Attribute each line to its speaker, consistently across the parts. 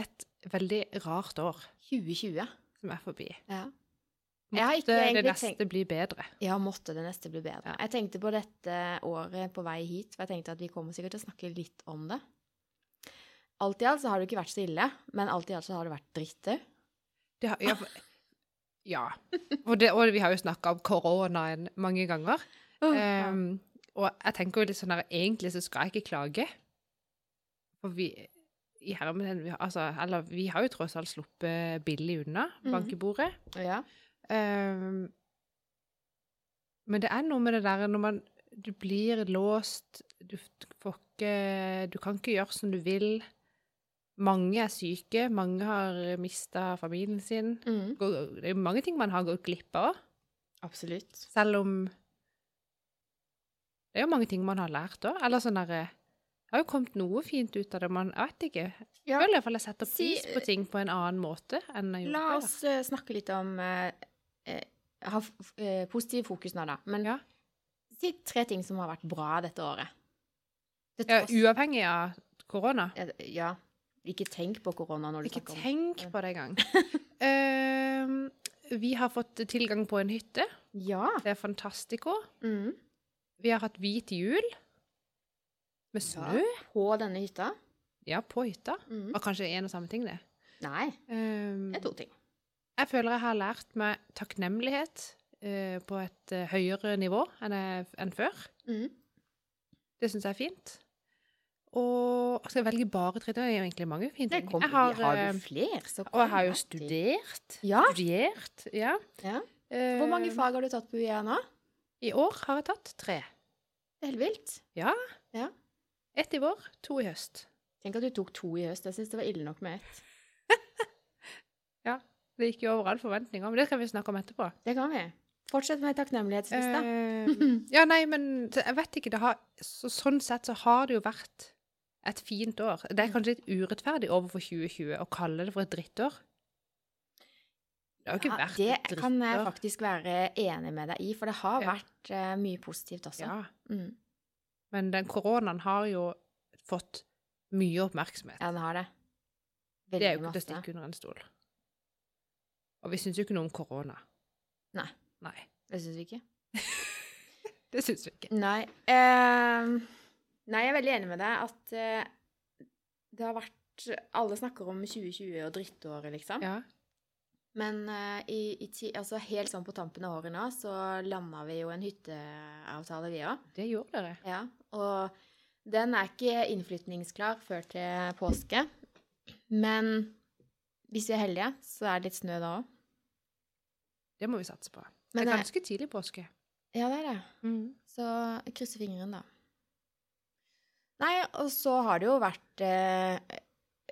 Speaker 1: Et veldig rart år
Speaker 2: 2020.
Speaker 1: som er forbi.
Speaker 2: Ja. Jeg har ikke
Speaker 1: Måtte det
Speaker 2: egentlig
Speaker 1: neste bli bedre.
Speaker 2: Ja, måtte det neste bli bedre.
Speaker 1: Ja.
Speaker 2: Jeg tenkte på dette året på vei hit, for jeg tenkte at vi kommer sikkert til å snakke litt om det. Alt i alt så har det jo ikke vært så ille, men alt i alt så har det vært dritt òg.
Speaker 1: Det har, ja, for- ja. Og, det, og vi har jo snakka om koronaen mange ganger. Ehm, og jeg tenker jo litt sånn her, egentlig så skal jeg ikke klage. For vi i hermen, vi, har- altså, eller, vi har jo tross alt sluppet billig unna
Speaker 2: Mhm.
Speaker 1: bankebordet.
Speaker 2: ja.
Speaker 1: Ehm, men det er noe med det der når man Du blir låst, du f- får ikke Du kan ikke gjøre som du vil. Mange er syke, mange har mista familien sin.
Speaker 2: Mm.
Speaker 1: Gå- Det er jo mange ting man har gått glipp av,
Speaker 2: Absolutt.
Speaker 1: selv om Det er jo mange ting man har lært òg. Eller sånn derre Det har jo kommet noe fint ut av det. Man jeg vet ikke.
Speaker 2: Ja.
Speaker 1: Jeg føler iallfall jeg setter
Speaker 2: Si-
Speaker 1: pris på ting på en annen måte enn jeg gjorde
Speaker 2: La
Speaker 1: før.
Speaker 2: oss eh, snakke litt om eh, eh, Ha f- f- eh, positiv fokus nå, da. Men
Speaker 1: Ja.
Speaker 2: si tre ting som har vært bra dette året. Til
Speaker 1: Ja,
Speaker 2: tross-
Speaker 1: uavhengig av korona.
Speaker 2: Eh, ja. Ikke tenk på korona når du
Speaker 1: Ikke
Speaker 2: snakker om
Speaker 1: tenk på det engang. Ehm, vi har fått tilgang på en hytte.
Speaker 2: Ja.
Speaker 1: Det er fantastico.
Speaker 2: Mm.
Speaker 1: Vi har hatt hvit jul med snø.
Speaker 2: På denne hytta.
Speaker 1: Ja, på hytta.
Speaker 2: Mm.
Speaker 1: Og kanskje en og samme ting, det.
Speaker 2: Nei,
Speaker 1: Ehm,
Speaker 2: det er to ting.
Speaker 1: jeg føler jeg har lært meg takknemlighet eh, på et eh, høyere nivå enn, jeg, enn før.
Speaker 2: Mm.
Speaker 1: Det syns jeg er fint. Og skal jeg velge bare tre ting? Det er jo egentlig mange fine
Speaker 2: Det
Speaker 1: ting.
Speaker 2: kommer,
Speaker 1: Jeg har,
Speaker 2: vi har
Speaker 1: eh,
Speaker 2: jo flere, så
Speaker 1: og jeg har jo
Speaker 2: kommer til.
Speaker 1: studert.
Speaker 2: Ja.
Speaker 1: Studiert, ja.
Speaker 2: Ja. Hvor mange
Speaker 1: Ehm,
Speaker 2: fag har du tatt på UiA nå?
Speaker 1: I år har jeg tatt tre.
Speaker 2: Det er helt vilt.
Speaker 1: Ett i vår, to i høst.
Speaker 2: Tenk at du tok to i høst. Jeg syns det var ille nok med ett.
Speaker 1: Det gikk jo over all forventning, men det skal vi snakke om etterpå.
Speaker 2: Det kan vi. Fortsett med takknemlighetslista.
Speaker 1: Eh, ja, nei, men så jeg vet ikke. Det har, så, sånn sett så har det jo vært et fint år. Det er kanskje litt urettferdig overfor 2020 å kalle det for et drittår. Det har jo ikke
Speaker 2: Ja,
Speaker 1: vært
Speaker 2: det
Speaker 1: et drittår.
Speaker 2: kan jeg faktisk være enig med deg i, for det har
Speaker 1: Ja.
Speaker 2: vært eh, mye positivt også.
Speaker 1: Ja,
Speaker 2: Mm.
Speaker 1: men den koronaen har jo fått mye oppmerksomhet.
Speaker 2: ja den har det.
Speaker 1: det er jo
Speaker 2: Veldig
Speaker 1: ikke til å
Speaker 2: masse.
Speaker 1: stikke under en stol. Og vi syns jo ikke noe om korona.
Speaker 2: Nei.
Speaker 1: Nei.
Speaker 2: Det syns vi ikke.
Speaker 1: Det syns vi ikke.
Speaker 2: Nei. eh, nei, jeg er veldig enig med deg at eh, det har vært Alle snakker om 2020 og drittåret, liksom.
Speaker 1: Ja.
Speaker 2: Men eh, i, i ti, altså helt sånn på tampen av året nå, så landa vi jo en hytteavtale, vi òg.
Speaker 1: Det gjorde dere.
Speaker 2: Ja, og den er ikke innflytningsklar før til påske. Men hvis vi er heldige, så er det litt snø da òg.
Speaker 1: Det må vi satse på.
Speaker 2: Men Mm.
Speaker 1: det
Speaker 2: det-
Speaker 1: er ganske tidlig påske.
Speaker 2: Ja, det er det. Så jeg krysser fingeren, da. Nei, og så har det jo vært eh,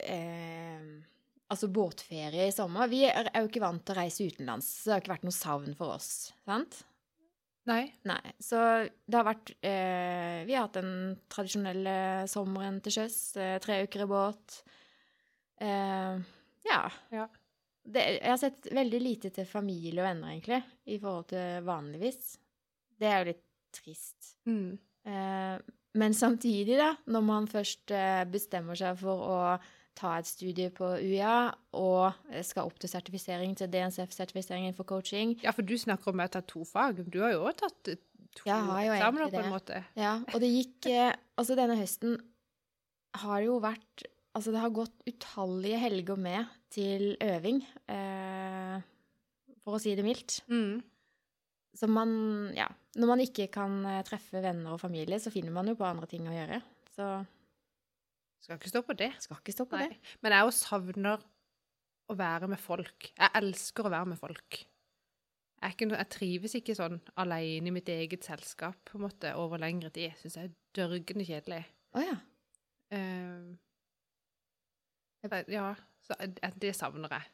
Speaker 2: eh, Altså båtferie i sommer. Vi er er jo ikke vant til å reise utenlands, så det har ikke vært noe savn for oss. sant?
Speaker 1: Nei.
Speaker 2: Nei, så det har vært eh, Vi har hatt den tradisjonelle sommeren til sjøs. Eh, tre uker i båt. Eh, ja.
Speaker 1: Ja.
Speaker 2: Det, jeg har sett veldig lite til familie og venner, egentlig, i forhold til vanligvis. Det er jo litt trist.
Speaker 1: Mm.
Speaker 2: Eh, men samtidig, da, når man først eh, bestemmer seg for å ta et studie på UiA og eh, skal opp til sertifisering til DNCF-sertifiseringen for coaching,
Speaker 1: Ja, for du snakker om å ta to fag. Du har jo òg tatt eh, to
Speaker 2: Jeg har jo egentlig
Speaker 1: eksamener, på en
Speaker 2: det.
Speaker 1: måte.
Speaker 2: Ja, og det gikk eh, Altså, denne høsten har jo vært Altså, det har gått utallige helger med til øving, eh, for å si det mildt.
Speaker 1: Mm.
Speaker 2: Så man Ja. Når man ikke kan eh, treffe venner og familie, så finner man jo på andre ting å gjøre. Så
Speaker 1: Skal ikke stå på det.
Speaker 2: skal ikke stå på
Speaker 1: Nei.
Speaker 2: det.
Speaker 1: Men jeg òg savner å være med folk. Jeg elsker å være med folk. Jeg, er ikke, noe- jeg trives ikke sånn alene i mitt eget selskap på en måte, over lengre tid. Syns jeg er dørgende kjedelig.
Speaker 2: Å ja.
Speaker 1: Eh, det, Ehm, ja, så jeg- det savner jeg.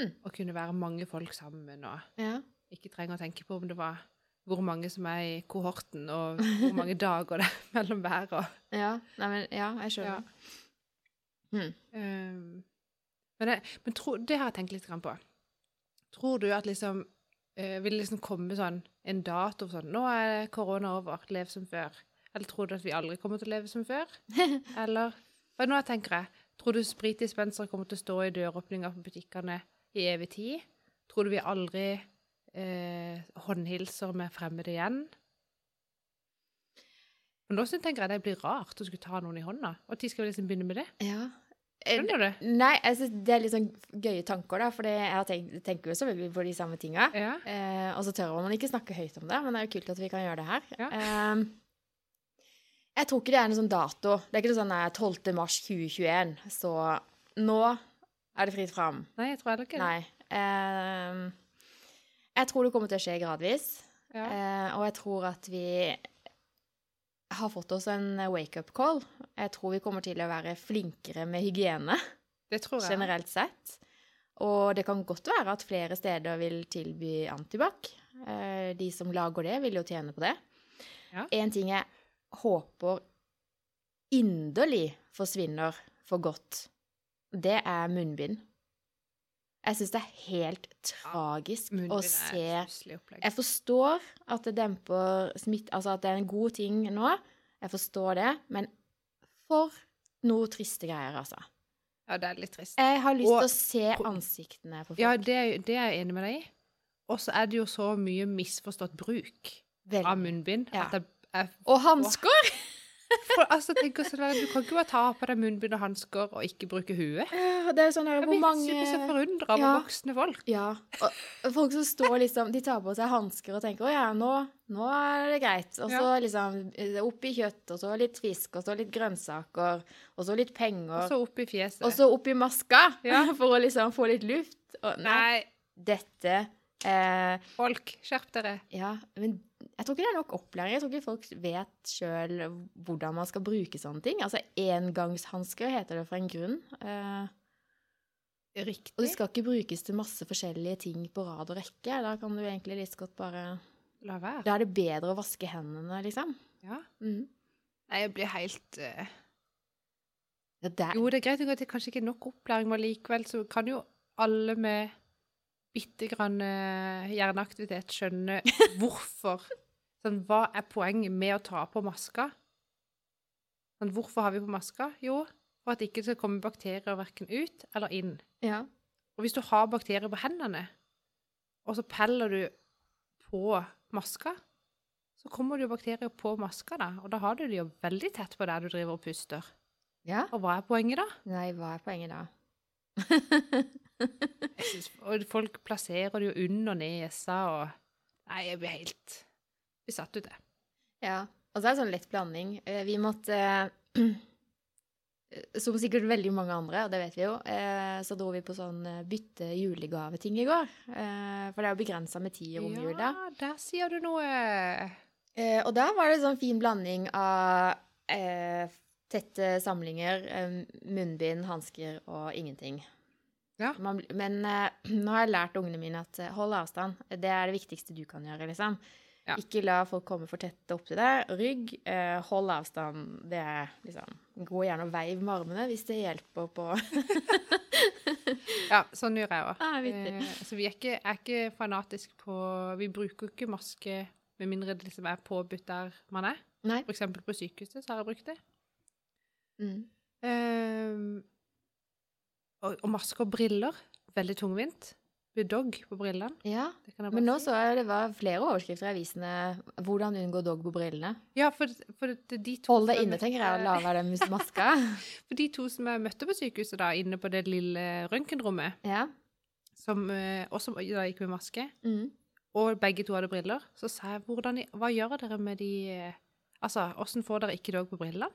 Speaker 2: Mm.
Speaker 1: Å kunne være mange folk sammen og
Speaker 2: Ja.
Speaker 1: ikke trenger å tenke på om det var hvor mange som er i kohorten, og hvor mange dager det er mellom hver. Og,
Speaker 2: ja. Nei, men ja, jeg
Speaker 1: ja.
Speaker 2: skjønner. Mm.
Speaker 1: Ehm, men jeg, men tro, det har jeg tenkt litt grann på. Tror du at liksom eh, Vil det liksom komme sånn en dato for sånn Nå er korona over, lev som før. Eller tror du at vi aldri kommer til å leve som før? Eller Hva nå tenker jeg? Tror du spritdispensere kommer til å stå i døråpninga på butikkene i evig tid? Tror du vi aldri eh, håndhilser med fremmede igjen? Men nå synes- tenker jeg det blir rart å skulle ta noen i hånda. Og når skal vi liksom begynne med det?
Speaker 2: Ja. Eh,
Speaker 1: Skjønner du?
Speaker 2: Nei, jeg synes det er litt sånn gøye tanker, da. For det- jeg har tenkt, tenker jo selvfølgelig på de samme tinga.
Speaker 1: Ja.
Speaker 2: Eh, og så tør man ikke snakke høyt om det, men det er jo kult at vi kan gjøre det her.
Speaker 1: Ja.
Speaker 2: Eh, jeg tror ikke det er en sånn dato. Det er ikke noe sånn eh, 12. mars 2021, så nå er det fritt fram.
Speaker 1: Nei, jeg tror heller ikke det.
Speaker 2: Nei. Eh, jeg tror det kommer til å skje gradvis.
Speaker 1: Ja.
Speaker 2: Eh, og jeg tror at vi har fått oss en wake-up call. Jeg tror vi kommer til å være flinkere med hygiene
Speaker 1: Det tror jeg.
Speaker 2: generelt sett. Og det kan godt være at flere steder vil tilby antibac. Eh, De som lager det, vil jo tjene på det.
Speaker 1: Ja.
Speaker 2: En ting jeg håper inderlig forsvinner for godt, det er munnbind. Jeg syns det er helt tragisk å
Speaker 1: Munnbind
Speaker 2: se
Speaker 1: er et stusslig opplegg.
Speaker 2: jeg forstår at det demper smitt, altså at det er en god ting nå. Jeg forstår det, men for noe triste greier, altså.
Speaker 1: Ja, det er litt trist.
Speaker 2: Jeg har lyst
Speaker 1: Og-
Speaker 2: til å se ansiktene på folk.
Speaker 1: Ja, det, er- det er jeg enig med deg i. Og så er det jo så mye misforstått bruk
Speaker 2: Veldig.
Speaker 1: av munnbind.
Speaker 2: Ja.
Speaker 1: At jeg, jeg,
Speaker 2: Og hansker!
Speaker 1: for, altså, tenker sånn der, du kan ikke bare ta på deg munnbind og hansker og ikke bruke huet.
Speaker 2: Det er jo sånn der,
Speaker 1: Jeg
Speaker 2: hvor
Speaker 1: blir så
Speaker 2: mange
Speaker 1: forundra over
Speaker 2: Ja.
Speaker 1: voksne folk.
Speaker 2: Ja. Og folk som står liksom De tar på seg hansker og tenker 'Å ja, nå, nå er det greit'. Og så liksom eh, oppi kjøtt, og så litt fisk, og så litt grønnsaker, og så litt penger.
Speaker 1: Og så opp i fjeset.
Speaker 2: Og så oppi maska,
Speaker 1: Ja.
Speaker 2: for å liksom få litt luft. Og, nei,
Speaker 1: Nei,
Speaker 2: dette eh,
Speaker 1: folk, skjerp dere.
Speaker 2: Ja, men jeg tror ikke det er nok opplæring. Jeg tror ikke folk vet sjøl hvordan man skal bruke sånne ting. Altså engangshansker heter det for en grunn. Eh, og det
Speaker 1: Riktig.
Speaker 2: skal ikke brukes til masse forskjellige ting på rad og rekke. Da kan du egentlig litt så godt bare
Speaker 1: La være.
Speaker 2: Da er det bedre å vaske hendene, liksom.
Speaker 1: Ja.
Speaker 2: Mm.
Speaker 1: Nei, jeg blir helt eh,
Speaker 2: Ja, det er
Speaker 1: Jo, det er greit nok at det kanskje ikke er nok opplæring, men likevel så kan jo alle med bitte grann eh, hjerneaktivitet skjønne hvorfor. Sånn, hva er poenget med å ta på maska? Sånn, hvorfor har vi på maska? Jo, for at det ikke skal komme bakterier verken ut eller inn.
Speaker 2: Ja.
Speaker 1: Og hvis du har bakterier på hendene, og så peller du på maska, så kommer det jo bakterier på maska, da. Og da har du de jo veldig tett på der du driver og puster.
Speaker 2: ja.
Speaker 1: Og hva er poenget, da?
Speaker 2: Nei, hva er poenget da?
Speaker 1: Jeg synes, og folk plasserer det jo under nesa og Nei, jeg blir helt besatt ut, jeg.
Speaker 2: Ja. Og så er det sånn lett blanding. Eh, Vi måtte eh, Som sikkert veldig mange andre, og det vet vi jo, eh, så dro vi på sånn eh, bytte julegaveting i går. Eh, For det er jo begrensa med tid i romjula.
Speaker 1: Ja, der sier du noe.
Speaker 2: Eh, Og da var det sånn fin blanding av eh, tette samlinger, eh, munnbind, hansker og ingenting.
Speaker 1: Ja.
Speaker 2: Man, bl- men eh, nå har jeg lært ungene mine at eh, hold avstand. Det er det viktigste du kan gjøre, liksom.
Speaker 1: Ja.
Speaker 2: Ikke la folk komme for tett opp til deg. Rygg, eh, hold avstand. Det er liksom Gå gjerne og veiv med armene hvis det hjelper på
Speaker 1: Ja, sånn gjør jeg òg.
Speaker 2: ah, vittig.
Speaker 1: Eh, så vi er ikke, er ikke fanatiske på Vi bruker jo ikke maske med mindre det liksom er påbudt der man er.
Speaker 2: Nei.
Speaker 1: For eksempel på sykehuset så har jeg brukt det.
Speaker 2: Mm.
Speaker 1: Eh, og, og maske og briller. Veldig tungvint. Budog på brillene.
Speaker 2: Ja.
Speaker 1: Det kan jeg bare
Speaker 2: Men nå
Speaker 1: si.
Speaker 2: så jeg det var flere overskrifter i avisene 'Hvordan unngå dog på brillene'.
Speaker 1: Ja, for, for det, de to
Speaker 2: Hold deg
Speaker 1: som-
Speaker 2: inne, tenker jeg, og la være den mus- maska.
Speaker 1: For de to som jeg møtte på sykehuset da, inne på det lille røntgenrommet,
Speaker 2: Ja.
Speaker 1: som eh, også da gikk med maske,
Speaker 2: Mm.
Speaker 1: og begge to hadde briller, så sa jeg hvordan, i- hva gjør dere med de eh, Altså, åssen får dere ikke dog på brillene?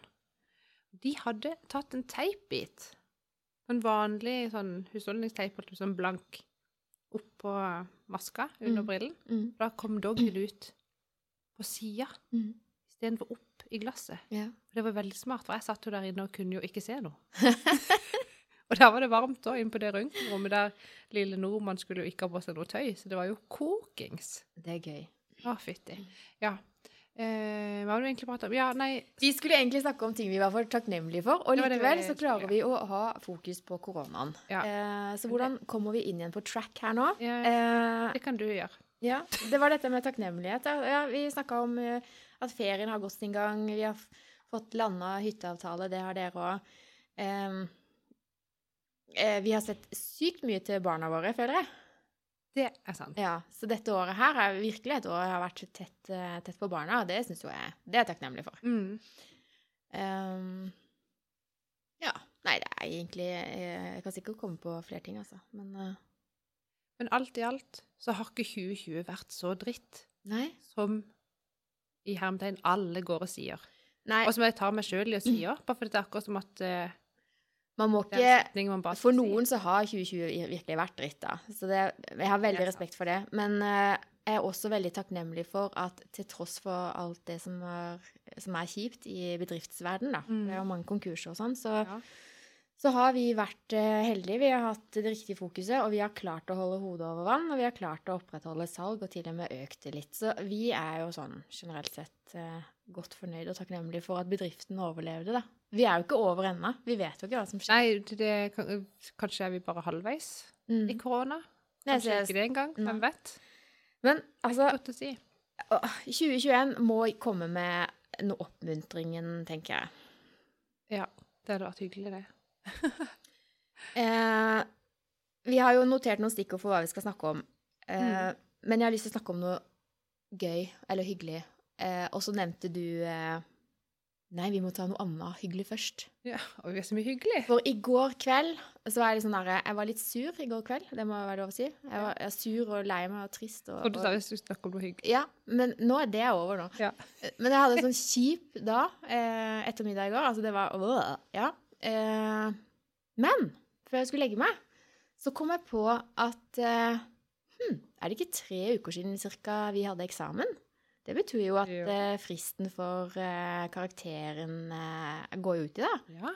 Speaker 1: De hadde tatt en teipbit, en vanlig sånn husholdningsteip, holdt jeg på å si, sånn blank, oppå maska under
Speaker 2: Mm.
Speaker 1: brillen.
Speaker 2: Mm.
Speaker 1: Da kom doggen ut på sida
Speaker 2: Mm.
Speaker 1: istedenfor opp i glasset.
Speaker 2: Ja.
Speaker 1: Og det var veldig smart, for jeg satt jo der inne og kunne jo ikke se noe. og Og der var det varmt òg, inne på det røntgenrommet der lille nordmann skulle jo ikke ha på seg noe tøy. Så det var jo kokings.
Speaker 2: Det er gøy.
Speaker 1: Å, fytti. Ja. Eh, hva var det vi egentlig pratet om? Ja, nei
Speaker 2: Vi skulle egentlig snakke om ting vi var for takknemlige for, og
Speaker 1: Det var det
Speaker 2: likevel
Speaker 1: vi-
Speaker 2: så klarer vi å ha fokus på koronaen.
Speaker 1: Ja.
Speaker 2: Eh, så hvordan kommer vi inn igjen på track her nå?
Speaker 1: eh,
Speaker 2: Eh,
Speaker 1: Det kan du gjøre.
Speaker 2: ja, det var dette med takknemlighet. Ja, ja, vi snakka om eh, at ferien har gått sin gang, vi har f- fått landa hytteavtale, det har dere òg. eh, vi har sett sykt mye til barna våre, føler jeg.
Speaker 1: Det er sant.
Speaker 2: Ja, Så dette året her er virkelig et år jeg har vært tett, eh, tett på barna, og det syns jo jeg det er jeg takknemlig for.
Speaker 1: Mm.
Speaker 2: Ehm, ja. Nei, det er egentlig eh, Jeg kan sikkert komme på flere ting, altså. Men eh,
Speaker 1: Men alt i alt så har ikke 2020 vært så dritt
Speaker 2: nei.
Speaker 1: som i hermetegn alle går og sier.
Speaker 2: nei.
Speaker 1: Og som jeg tar meg sjøl i å si òg, bare fordi det er akkurat som at eh,
Speaker 2: Man må
Speaker 1: det er
Speaker 2: ikke
Speaker 1: en setning man bare
Speaker 2: For
Speaker 1: skal si.
Speaker 2: noen så har 2020 i- virkelig vært dritt, da. Så det, jeg har
Speaker 1: Det
Speaker 2: veldig
Speaker 1: er
Speaker 2: respekt for det. Men eh, jeg er også veldig takknemlig for at til tross for alt det som er, som er kjipt i bedriftsverden, da,
Speaker 1: Mm.
Speaker 2: det er jo mange konkurser og sånn, så,
Speaker 1: Ja.
Speaker 2: så har vi vært eh, heldige. Vi har hatt det riktige fokuset, og vi har klart å holde hodet over vann. Og vi har klart å opprettholde salg, og til og med økt det litt. Så vi er jo sånn generelt sett eh, godt fornøyd og takknemlig for at bedriften overlevde, da. Vi er jo ikke over ennå. Vi vet jo ikke hva som skjer.
Speaker 1: Nei, det, det, kan- kanskje er vi bare halvveis
Speaker 2: Mm.
Speaker 1: i korona.
Speaker 2: Nei,
Speaker 1: Kanskje
Speaker 2: så jeg-
Speaker 1: ikke det engang. Hvem vet?
Speaker 2: Men altså,
Speaker 1: Godt å si.
Speaker 2: åh, 2021 må komme med noe oppmuntringen, tenker jeg.
Speaker 1: Ja, det hadde vært hyggelig, det.
Speaker 2: Eh, vi har jo notert noen stikkord for hva vi skal snakke om. Eh, Men jeg har lyst til å snakke om noe gøy eller hyggelig. Eh, og så nevnte du eh, Nei, vi må ta noe annet hyggelig først.
Speaker 1: Ja, og vi er så mye hyggelig.
Speaker 2: For i går kveld så var jeg litt sånn derre Jeg var litt sur i går kveld, det må være lov å si. Jeg var, jeg var sur og lei meg og trist. Og,
Speaker 1: Og du sa hvis du snakker om noe hyggelig.
Speaker 2: Ja, men nå er det over nå.
Speaker 1: Ja.
Speaker 2: Men jeg hadde en sånn kjip da, eh, ettermiddag i går. Altså, det var øh, Ja. Eh, men før jeg skulle legge meg, så kom jeg på at eh, hm, Er det ikke tre uker siden cirka vi hadde eksamen? Det betyr jo at
Speaker 1: Jo.
Speaker 2: eh, fristen for eh, karakteren eh, går jo ut i dag.
Speaker 1: Ja.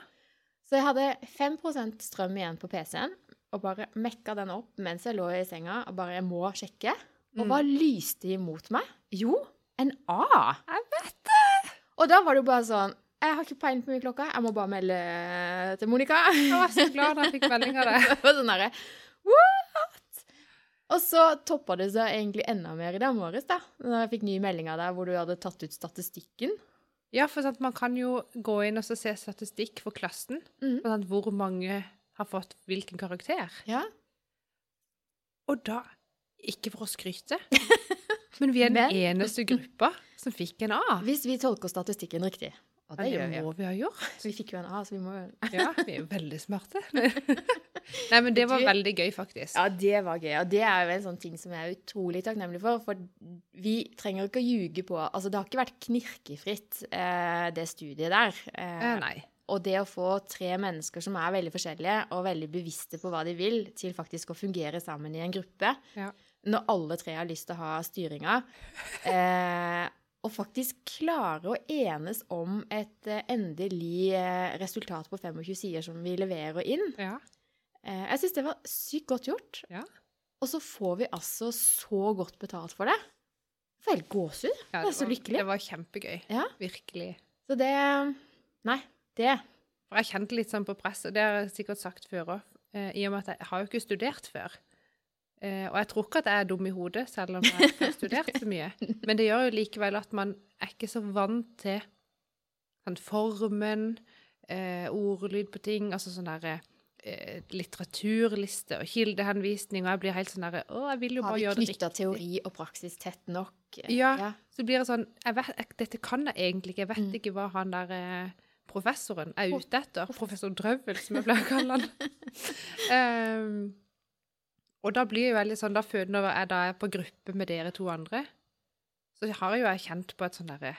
Speaker 2: Så jeg hadde 5 strøm igjen på PC-en, og bare mekka den opp mens jeg lå i senga og bare jeg må sjekke. Og
Speaker 1: Mm.
Speaker 2: hva lyste imot meg? Jo, en A!
Speaker 1: Jeg
Speaker 2: vet det! Og da var det jo bare sånn Jeg har ikke peiling på mye klokka, jeg må bare melde eh, til Monica.
Speaker 1: Jeg var så glad da jeg fikk melding av det.
Speaker 2: Det var sånn derre What?! Og så toppa det seg egentlig enda mer i dag morges, da. Når jeg fikk ny melding av deg hvor du hadde tatt ut statistikken.
Speaker 1: Ja, for sant, man kan jo gå inn og så se statistikk for klassen.
Speaker 2: Mm.
Speaker 1: For sant, hvor mange har fått hvilken karakter.
Speaker 2: Ja.
Speaker 1: Og da Ikke for å skryte, men vi er den
Speaker 2: Men-
Speaker 1: eneste gruppa som fikk en A.
Speaker 2: Hvis vi tolker statistikken riktig. Og det gjør vi jo.
Speaker 1: må vi ha gjort.
Speaker 2: Så vi fikk jo en A, så vi må jo
Speaker 1: Ja, vi er jo veldig smarte. Nei, men det var
Speaker 2: Du-
Speaker 1: veldig gøy, faktisk.
Speaker 2: Ja, det var gøy. Og det er jo en sånn ting som jeg er utrolig takknemlig for. For vi trenger jo ikke å ljuge på Altså, det har ikke vært knirkefritt, eh, det studiet der. Eh,
Speaker 1: Eh, Nei.
Speaker 2: og det å få tre mennesker som er veldig forskjellige, og veldig bevisste på hva de vil, til faktisk å fungere sammen i en gruppe,
Speaker 1: Ja.
Speaker 2: når alle tre har lyst til å ha styringa, eh, og faktisk klare å enes om et eh, endelig eh, resultat på 25 sider som vi leverer inn,
Speaker 1: Ja.
Speaker 2: Eh, Jeg syns det var sykt godt gjort.
Speaker 1: Ja.
Speaker 2: Og så får vi altså så godt betalt for det. Jeg får helt gåsehud.
Speaker 1: Ja,
Speaker 2: Jeg er så
Speaker 1: var-
Speaker 2: lykkelig.
Speaker 1: Det var kjempegøy.
Speaker 2: Ja.
Speaker 1: Virkelig.
Speaker 2: Så det Nei, det
Speaker 1: For jeg kjente litt sånn på press, og det har jeg sikkert sagt før òg, eh, i og med at jeg har jo ikke studert før. Eh, og jeg tror ikke at jeg er dum i hodet, selv om jeg ikke har studert så mye. Men det gjør jo likevel at man er ikke så vant til sånn formen, eh, ordlyd på ting, altså sånn derre eh, litteraturliste og kildehenvisning, og jeg blir helt sånn derre Å, jeg vil jo
Speaker 2: Har
Speaker 1: bare
Speaker 2: vi
Speaker 1: gjøre det riktig.
Speaker 2: knytta teori og praksis tett nok? Eh,
Speaker 1: Ja. Så blir det sånn jeg vet, jeg, Dette kan jeg egentlig ikke. Jeg vet
Speaker 2: Mm.
Speaker 1: ikke hva han der eh, professoren er ute etter. Professor Drøvel, som jeg pleier å kalle han. Ehm, og da blir jeg veldig sånn Da fø- når jeg da er på gruppe med dere to andre, så har jo jeg kjent på et sånn derre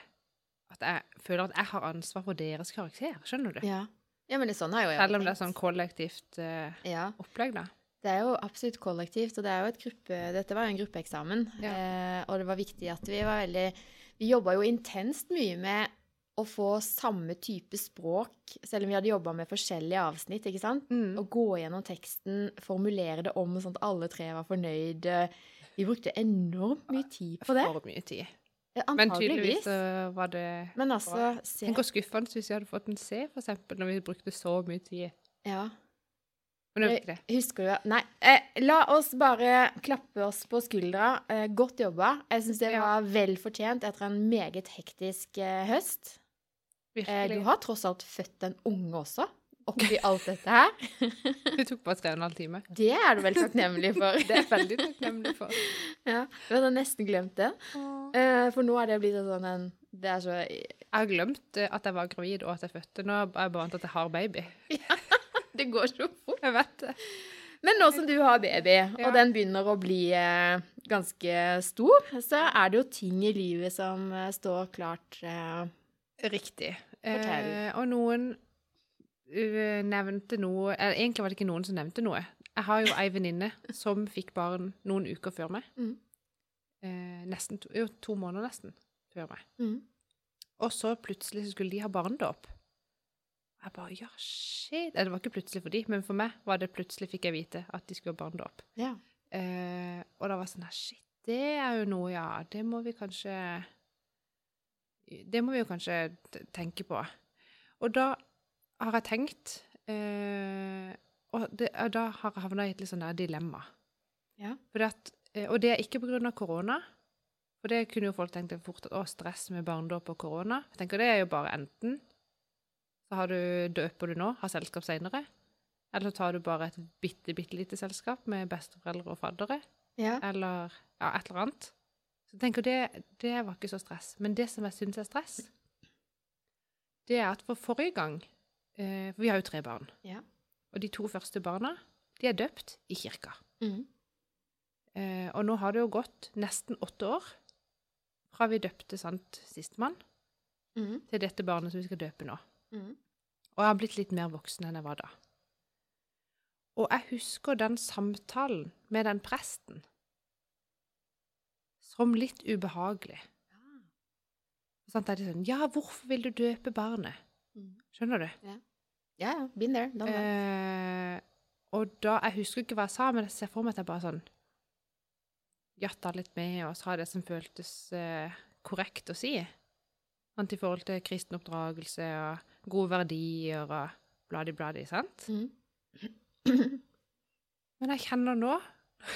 Speaker 1: At jeg føler at jeg har ansvar for deres karakter. Skjønner du?
Speaker 2: ja. ja, men det er sånn har jo jeg
Speaker 1: Selv om det
Speaker 2: tenkt.
Speaker 1: er sånn kollektivt eh,
Speaker 2: ja.
Speaker 1: opplegg, da.
Speaker 2: Det er jo absolutt kollektivt, og det er jo et gruppe, dette var jo en gruppeeksamen.
Speaker 1: Ja.
Speaker 2: Eh, og det var viktig at vi var veldig Vi jobba jo intenst mye med å få samme type språk, selv om vi hadde jobba med forskjellige avsnitt, ikke sant?
Speaker 1: Mm.
Speaker 2: Å gå gjennom teksten, formulere det om sånn at alle tre var fornøyd. Vi brukte enormt mye tid på det.
Speaker 1: For mye tid. Men
Speaker 2: Antageligvis.
Speaker 1: tydeligvis så var det
Speaker 2: Men altså, se
Speaker 1: Tenk hvor skuffende hvis vi hadde fått en C, for eksempel, når vi brukte så mye tid.
Speaker 2: Ja.
Speaker 1: Men det var ikke det.
Speaker 2: Husker du Nei. Eh, la oss bare klappe oss på skuldra. Eh, godt jobba. Jeg syns det
Speaker 1: Ja.
Speaker 2: var vel fortjent etter en meget hektisk eh, høst. Eh, du
Speaker 1: Virkelig.
Speaker 2: har tross alt født en unge også, oppi alt dette her.
Speaker 1: Det tok bare tre og en halv time.
Speaker 2: Det er du vel takknemlig for.
Speaker 1: Det er jeg veldig takknemlig for.
Speaker 2: Ja, Du hadde nesten glemt det.
Speaker 1: Jeg
Speaker 2: Eh, for nå er det blitt en sånn en Det er så
Speaker 1: har glemt eh, at jeg var gravid og at jeg fødte. Nå er jeg bare vant til at jeg har baby.
Speaker 2: Det går så fort.
Speaker 1: Jeg vet det.
Speaker 2: Men nå som du har baby,
Speaker 1: Ja.
Speaker 2: og den begynner å bli eh, ganske stor, så er det jo ting i livet som eh, står klart eh,
Speaker 1: Riktig.
Speaker 2: Fortell.
Speaker 1: Eh, og noen eh, nevnte noe Eller egentlig var det ikke noen som nevnte noe. Jeg har jo ei venninne som fikk barn noen uker før meg.
Speaker 2: Mm.
Speaker 1: Eh, nesten to, jo, to måneder nesten før meg.
Speaker 2: mm.
Speaker 1: Og så plutselig så skulle de ha barnedåp. Jeg bare ja, shit. Nei, Det var ikke plutselig for de, men for meg var det plutselig fikk jeg vite at de skulle ha barnedåp.
Speaker 2: Ja.
Speaker 1: Eh, og da var jeg sånn her, shit, det er jo noe, ja, det må vi kanskje Det må vi jo kanskje t- tenke på. Og da har jeg tenkt eh, Og det, og da har jeg havna i et litt sånn der dilemma.
Speaker 2: Ja.
Speaker 1: Fordi at, eh, og det er ikke pga. korona. For det kunne jo folk tenkt fort at å, stress med barnedåp og korona. Jeg tenker det er jo bare enten så har du, døper du nå, har selskap seinere. Eller så tar du bare et bitte, bitte lite selskap med besteforeldre og faddere,
Speaker 2: ja.
Speaker 1: eller ja, et eller annet. Så jeg tenker det, det var ikke så stress. Men det som jeg syns er stress, det er at for forrige gang eh, For vi har jo tre barn.
Speaker 2: Ja.
Speaker 1: Og de to første barna, de er døpt i kirka.
Speaker 2: Mm.
Speaker 1: Eh, og nå har det jo gått nesten åtte år fra vi døpte sant sistemann,
Speaker 2: Mm.
Speaker 1: til dette barnet som vi skal døpe nå.
Speaker 2: Mm.
Speaker 1: Og jeg har blitt litt mer voksen enn jeg var da. Og jeg husker den samtalen med den presten som litt ubehagelig. Sånn, er de sånn, ja, hvorfor vil du døpe barnet?
Speaker 2: Mm.
Speaker 1: Skjønner du?
Speaker 2: Ja, ja. Been there. Done that.
Speaker 1: Eh, og da, jeg husker ikke hva jeg sa, men jeg ser for meg at jeg bare sånn jatta litt med og sa det som føltes eh, korrekt å si. Sant, I forhold til kristen oppdragelse og gode verdier og bladi-bladi, sant?
Speaker 2: Mm.
Speaker 1: Men jeg kjenner nå,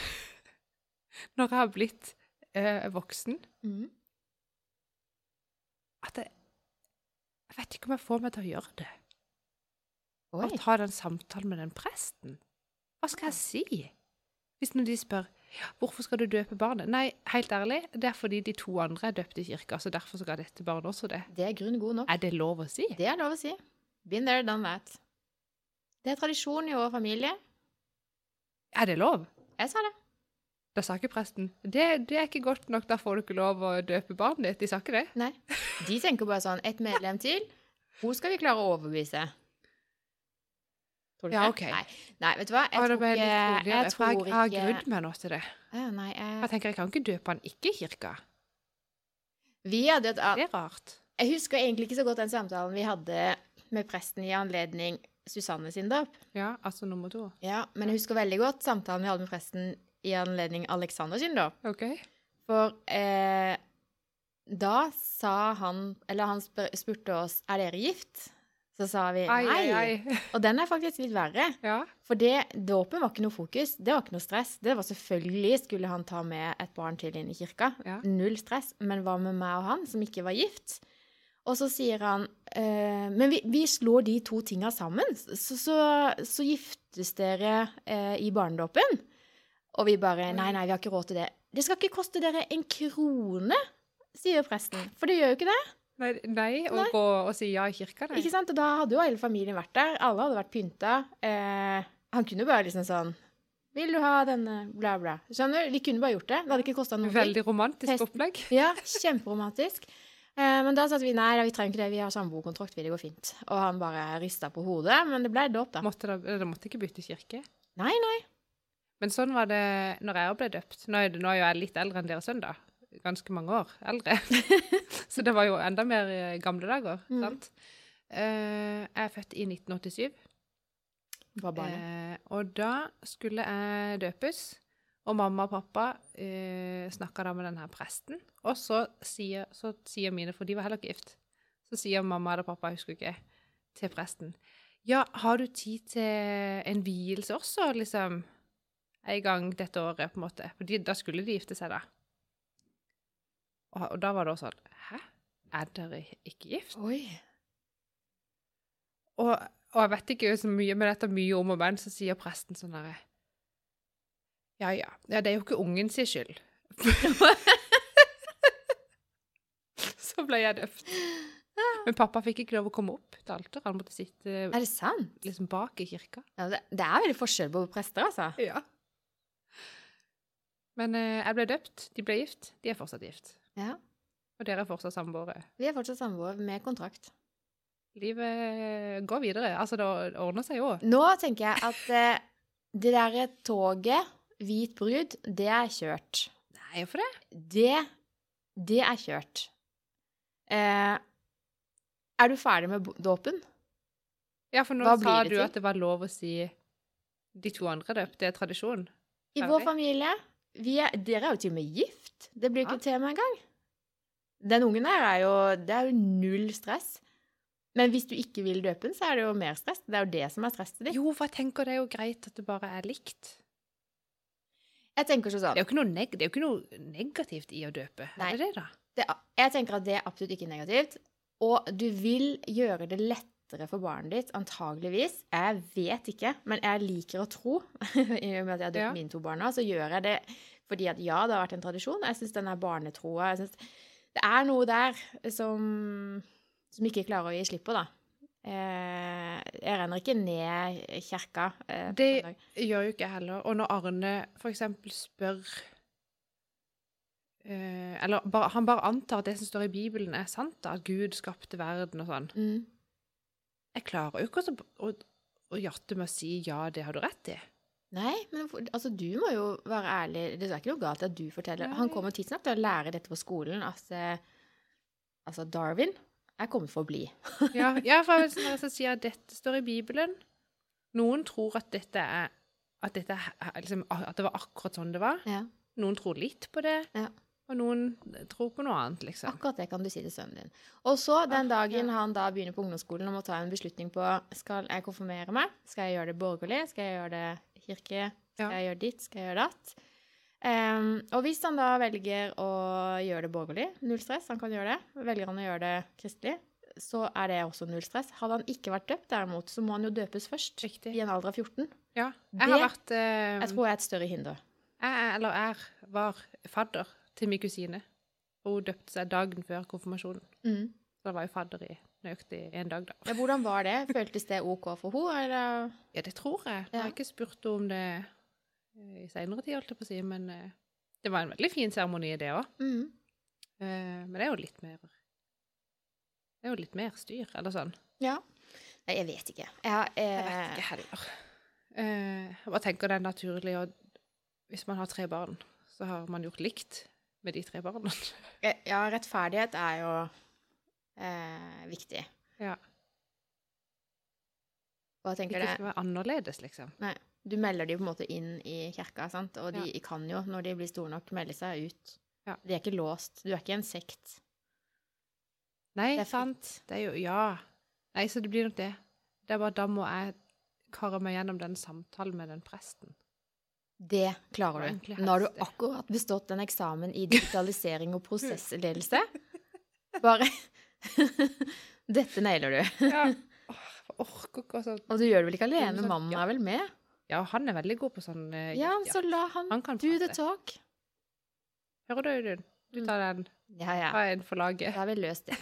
Speaker 1: når jeg har blitt eh, voksen,
Speaker 2: Mm.
Speaker 1: at jeg, jeg vet ikke om jeg får meg til å gjøre det. Å
Speaker 2: Oi.
Speaker 1: ta den samtalen med den presten. Hva skal jeg si? Hvis når de spør hvorfor skal du døpe barnet? Nei, helt ærlig, det er fordi de to andre er døpt i kirka, så derfor skal dette barnet også det.
Speaker 2: Det er grunn god nok.
Speaker 1: Er det lov å si?
Speaker 2: Det er lov å si. Been there, done that. Det er tradisjon i vår familie.
Speaker 1: Er det lov?
Speaker 2: Jeg sa det.
Speaker 1: Da sa ikke presten det, det er ikke godt nok, da får du ikke lov å døpe barnet ditt. De sa ikke det.
Speaker 2: Nei. De tenker bare sånn Et medlem til. Hun skal vi klare å overbevise. Tror du
Speaker 1: Ja,
Speaker 2: det?
Speaker 1: ok.
Speaker 2: Nei. nei, vet du hva?
Speaker 1: Å,
Speaker 2: Jeg
Speaker 1: da
Speaker 2: tror
Speaker 1: ble
Speaker 2: ikke
Speaker 1: jeg litt roligere,
Speaker 2: Jeg
Speaker 1: for
Speaker 2: tror
Speaker 1: jeg, jeg har
Speaker 2: ikke
Speaker 1: grudd meg nå til det.
Speaker 2: Ja, Nei,
Speaker 1: Jeg
Speaker 2: jeg
Speaker 1: tenker, jeg kan ikke døpe han ikke i kirka.
Speaker 2: Vi hadde et
Speaker 1: Det er rart.
Speaker 2: Jeg husker egentlig ikke så godt den samtalen vi hadde med presten i anledning Susanne sin dåp.
Speaker 1: Ja, altså nummer to.
Speaker 2: Ja, men jeg husker veldig godt samtalen vi hadde med presten i anledning Alexander sin dåp.
Speaker 1: Ok.
Speaker 2: For eh, da sa han Eller han spør, spurte oss er dere gift. Så sa vi nei.
Speaker 1: Ai, ai, ai.
Speaker 2: Og den er faktisk litt verre.
Speaker 1: Ja.
Speaker 2: For det, dåpen var ikke noe fokus. Det var ikke noe stress. Det var selvfølgelig skulle han ta med et barn til inn i kirka.
Speaker 1: Ja.
Speaker 2: Null stress. Men hva med meg og han, som ikke var gift? Og så sier han eh, Men vi, vi slår de to tinga sammen, så, så, så giftes dere eh, i barnedåpen. Og vi bare Nei, nei, vi har ikke råd til det. Det skal ikke koste dere en krone, sier presten. For det gjør jo ikke det.
Speaker 1: Nei, nei, å
Speaker 2: Nei.
Speaker 1: gå og si ja i kirka, nei.
Speaker 2: Ikke sant? Og da hadde jo hele familien vært der. Alle hadde vært pynta. Eh, han kunne jo bare liksom sånn Vil du ha denne bla, bla. Skjønner du? Vi kunne bare gjort det. Det hadde ikke kosta noe.
Speaker 1: Veldig romantisk
Speaker 2: Fest-
Speaker 1: opplegg.
Speaker 2: Ja, kjemperomantisk. Eh, men da sa vi nei, vi trenger ikke det. Vi har samboerkontrakt, vi. Det går fint. Og han bare rista på hodet. Men det ble dåp, da.
Speaker 1: Måtte da, da måtte ikke bytte kirke.
Speaker 2: Nei, nei.
Speaker 1: Men sånn var det når jeg ble døpt. Nå er, det, nå er jo jeg litt eldre enn dere sønn, da. ganske mange år eldre. så det var jo enda mer eh, gamle dager,
Speaker 2: Mm.
Speaker 1: sant? Eh, jeg er født i 1987.
Speaker 2: Var barnet.
Speaker 1: Eh, og da skulle jeg døpes, og mamma og pappa eh, snakka da med denne presten. Og så sier, så sier mine, for de var heller ikke gift, så sier mamma eller pappa, jeg husker ikke, til presten Ja, har du tid til en vielse også, liksom? En gang dette året, på en måte. For de, da skulle de gifte seg, da. Og, og da var det også sånn Hæ? Er dere ikke gift?
Speaker 2: Eh, Oi.
Speaker 1: Og, og jeg vet ikke så mye, men etter mye om og men, så sier presten sånn herre Ja, ja. Ja, det er jo ikke ungen sin skyld. så ble jeg døpt. Men pappa fikk ikke lov å komme opp til alteret. Han måtte sitte
Speaker 2: Er det sant?
Speaker 1: liksom bak i kirka.
Speaker 2: Ja, det, det er veldig forskjell på prester, altså.
Speaker 1: Ja. Men eh, jeg ble døpt. De ble gift. De er fortsatt gift.
Speaker 2: Ja.
Speaker 1: Og dere er fortsatt samboere.
Speaker 2: Vi er fortsatt samboere med kontrakt.
Speaker 1: Livet går videre. Altså, det ordner seg jo.
Speaker 2: Nå tenker jeg at eh, det derre toget, hvit brud, det er kjørt.
Speaker 1: Nei, hvorfor det?
Speaker 2: Det Det er kjørt. Eh, er du ferdig med bo- dåpen?
Speaker 1: Ja, for nå
Speaker 2: Hva
Speaker 1: sa
Speaker 2: blir det
Speaker 1: du
Speaker 2: til?
Speaker 1: at det var lov å si de to andre døpt. Det er tradisjon.
Speaker 2: I
Speaker 1: Ferdig.
Speaker 2: vår familie vi er, Dere er jo til og med gift. Det blir ikke tema engang. Den ungen her er jo Det er jo null stress. Men hvis du ikke vil døpe den, så er det jo mer stress. Det er jo det som er stresset ditt.
Speaker 1: Jo, for jeg tenker det er jo greit at det bare er likt.
Speaker 2: Jeg tenker sånn
Speaker 1: Det er jo ikke noe, neg det er jo ikke noe negativt i å døpe.
Speaker 2: Nei.
Speaker 1: Er det det, da?
Speaker 2: det, jeg tenker at det er absolutt ikke negativt. Og du vil gjøre det lettere for barnet ditt, antageligvis. Jeg vet ikke, men jeg liker å tro. I og med at jeg har døpt
Speaker 1: Ja.
Speaker 2: mine to barn nå, så gjør jeg det fordi at ja, det har vært en tradisjon. Jeg syns den er barnetroa. Jeg synes det er noe der som, som ikke klarer å gi slipp på, da. Eh, jeg renner ikke ned kjerka. Eh, på
Speaker 1: Det-
Speaker 2: søndag.
Speaker 1: Gjør jo ikke jeg heller. Og når Arne for eksempel spør eh, Eller bare, han bare antar at det som står i Bibelen, er sant, da. At Gud skapte verden og sånn.
Speaker 2: mm.
Speaker 1: Jeg klarer jo ikke å, å, å jatte med å si ja, det har du rett i.
Speaker 2: Nei, men hvorfor- altså, du må jo være ærlig. Det er ikke noe galt i at du forteller.
Speaker 1: Nei.
Speaker 2: Han kommer tidsnok til å lære dette på skolen. Altså, altså Darwin er kommet for å bli.
Speaker 1: Ja, ja for jeg vil sånn, altså, sier at dette står i Bibelen. Noen tror at dette er at, dette er, er liksom, at det var akkurat sånn det var.
Speaker 2: Ja.
Speaker 1: Noen tror litt på det,
Speaker 2: Ja.
Speaker 1: og noen tror på noe annet, liksom.
Speaker 2: Akkurat det kan du si til sønnen din. Og så, den
Speaker 1: Ah,
Speaker 2: dagen
Speaker 1: ja.
Speaker 2: han da begynner på ungdomsskolen og må ta en beslutning på skal jeg konfirmere meg, skal jeg gjøre det borgerlig, skal jeg gjøre det kirke, skal
Speaker 1: Ja.
Speaker 2: jeg gjøre ditt, skal jeg gjøre datt. Em, og hvis han da velger å gjøre det borgerlig, null stress, han kan gjøre det. Velger han å gjøre det kristelig, så er det også null stress. Hadde han ikke vært døpt derimot, så må han jo døpes først.
Speaker 1: Riktig.
Speaker 2: I en alder av 14.
Speaker 1: Ja.
Speaker 2: Det-
Speaker 1: Jeg har vært eh,
Speaker 2: Jeg
Speaker 1: jeg,
Speaker 2: tror jeg er et større hinder.
Speaker 1: er- eller er, var fadder til min kusine. Og hun døpte seg dagen før konfirmasjonen.
Speaker 2: Mm.
Speaker 1: Så da var jeg fadder i nøyaktig en dag, da.
Speaker 2: Ja, hvordan var det? Føltes det OK for henne, eller?
Speaker 1: Ja, det tror jeg. Jeg
Speaker 2: Ja.
Speaker 1: har ikke spurt henne om det eh, i seinere tid, holdt jeg på å si, men eh, det var en veldig fin seremoni, det òg.
Speaker 2: Mm.
Speaker 1: Eh, Men det er jo litt mer Det er jo litt mer styr, eller sånn.
Speaker 2: Ja. Nei, jeg vet ikke. Jeg, har, eh,
Speaker 1: Jeg vet ikke heller. Eh, Jeg bare tenker det er naturlig å Hvis man har tre barn, så har man gjort likt med de tre barna.
Speaker 2: Eh, Ja, rettferdighet er jo eh, viktig.
Speaker 1: Ja.
Speaker 2: Hva
Speaker 1: Ikke
Speaker 2: tenker du?
Speaker 1: skal være annerledes, liksom.
Speaker 2: Du melder de på en måte inn i kirka, sant? og de kan jo, når de blir store nok, melde seg ut.
Speaker 1: Ja.
Speaker 2: De er ikke låst. Du er ikke en sekt.
Speaker 1: Nei,
Speaker 2: Det er
Speaker 1: sant.
Speaker 2: fritt.
Speaker 1: Det er jo Ja. Nei, så det blir nok det. Det er bare da må jeg karre meg gjennom den samtalen med den presten.
Speaker 2: Det
Speaker 1: Det var
Speaker 2: klarer du.
Speaker 1: egentlig
Speaker 2: Nå har
Speaker 1: helst
Speaker 2: du
Speaker 1: det.
Speaker 2: akkurat bestått en eksamen i digitalisering og prosessledelse. Bare Dette nailer du.
Speaker 1: Ja. Åh, jeg orker ikke å sånn
Speaker 2: Og du gjør det vel ikke alene?
Speaker 1: sånn,
Speaker 2: Mannen
Speaker 1: ja.
Speaker 2: er vel med?
Speaker 1: Ja, han er veldig god på sånn eh,
Speaker 2: Ja,
Speaker 1: ja.
Speaker 2: så la han
Speaker 1: Han kan
Speaker 2: do the
Speaker 1: prate.
Speaker 2: talk.
Speaker 1: Hører du, Audun? Du tar den.
Speaker 2: Ja, ja.
Speaker 1: Ta en for laget.
Speaker 2: Da har vi løst det.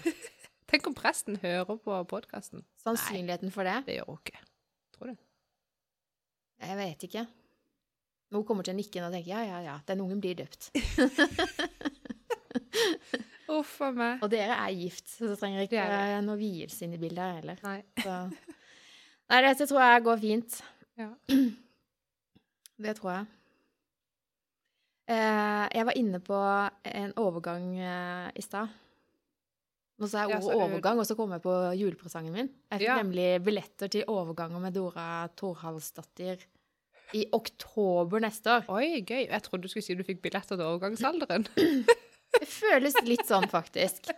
Speaker 1: Tenk om presten hører på podkasten.
Speaker 2: Sannsynligheten for det?
Speaker 1: Det gjør hun ikke. Tror du?
Speaker 2: Jeg vet ikke. Men Hun kommer til å nikke nå og tenke ja, ja, ja, den ungen blir døpt.
Speaker 1: Uff a meg.
Speaker 2: Og dere er gift, så det trenger ikke
Speaker 1: Det er vi.
Speaker 2: eh, noe vielse inn i bildet her heller.
Speaker 1: Nei.
Speaker 2: Så. Nei, dette tror jeg går fint.
Speaker 1: Ja.
Speaker 2: Det tror jeg. Eh, jeg var inne på en overgang eh, i stad. Nå sa jeg
Speaker 1: Ja,
Speaker 2: ordet
Speaker 1: så du-
Speaker 2: overgang, og så kom jeg på julepresangen min. Jeg fikk
Speaker 1: Ja.
Speaker 2: nemlig billetter til overganger med Dora Thorhalsdatter i oktober neste år.
Speaker 1: Oi, gøy. Jeg trodde du skulle si du fikk billetter til overgangsalderen.
Speaker 2: Det føles litt sånn, faktisk.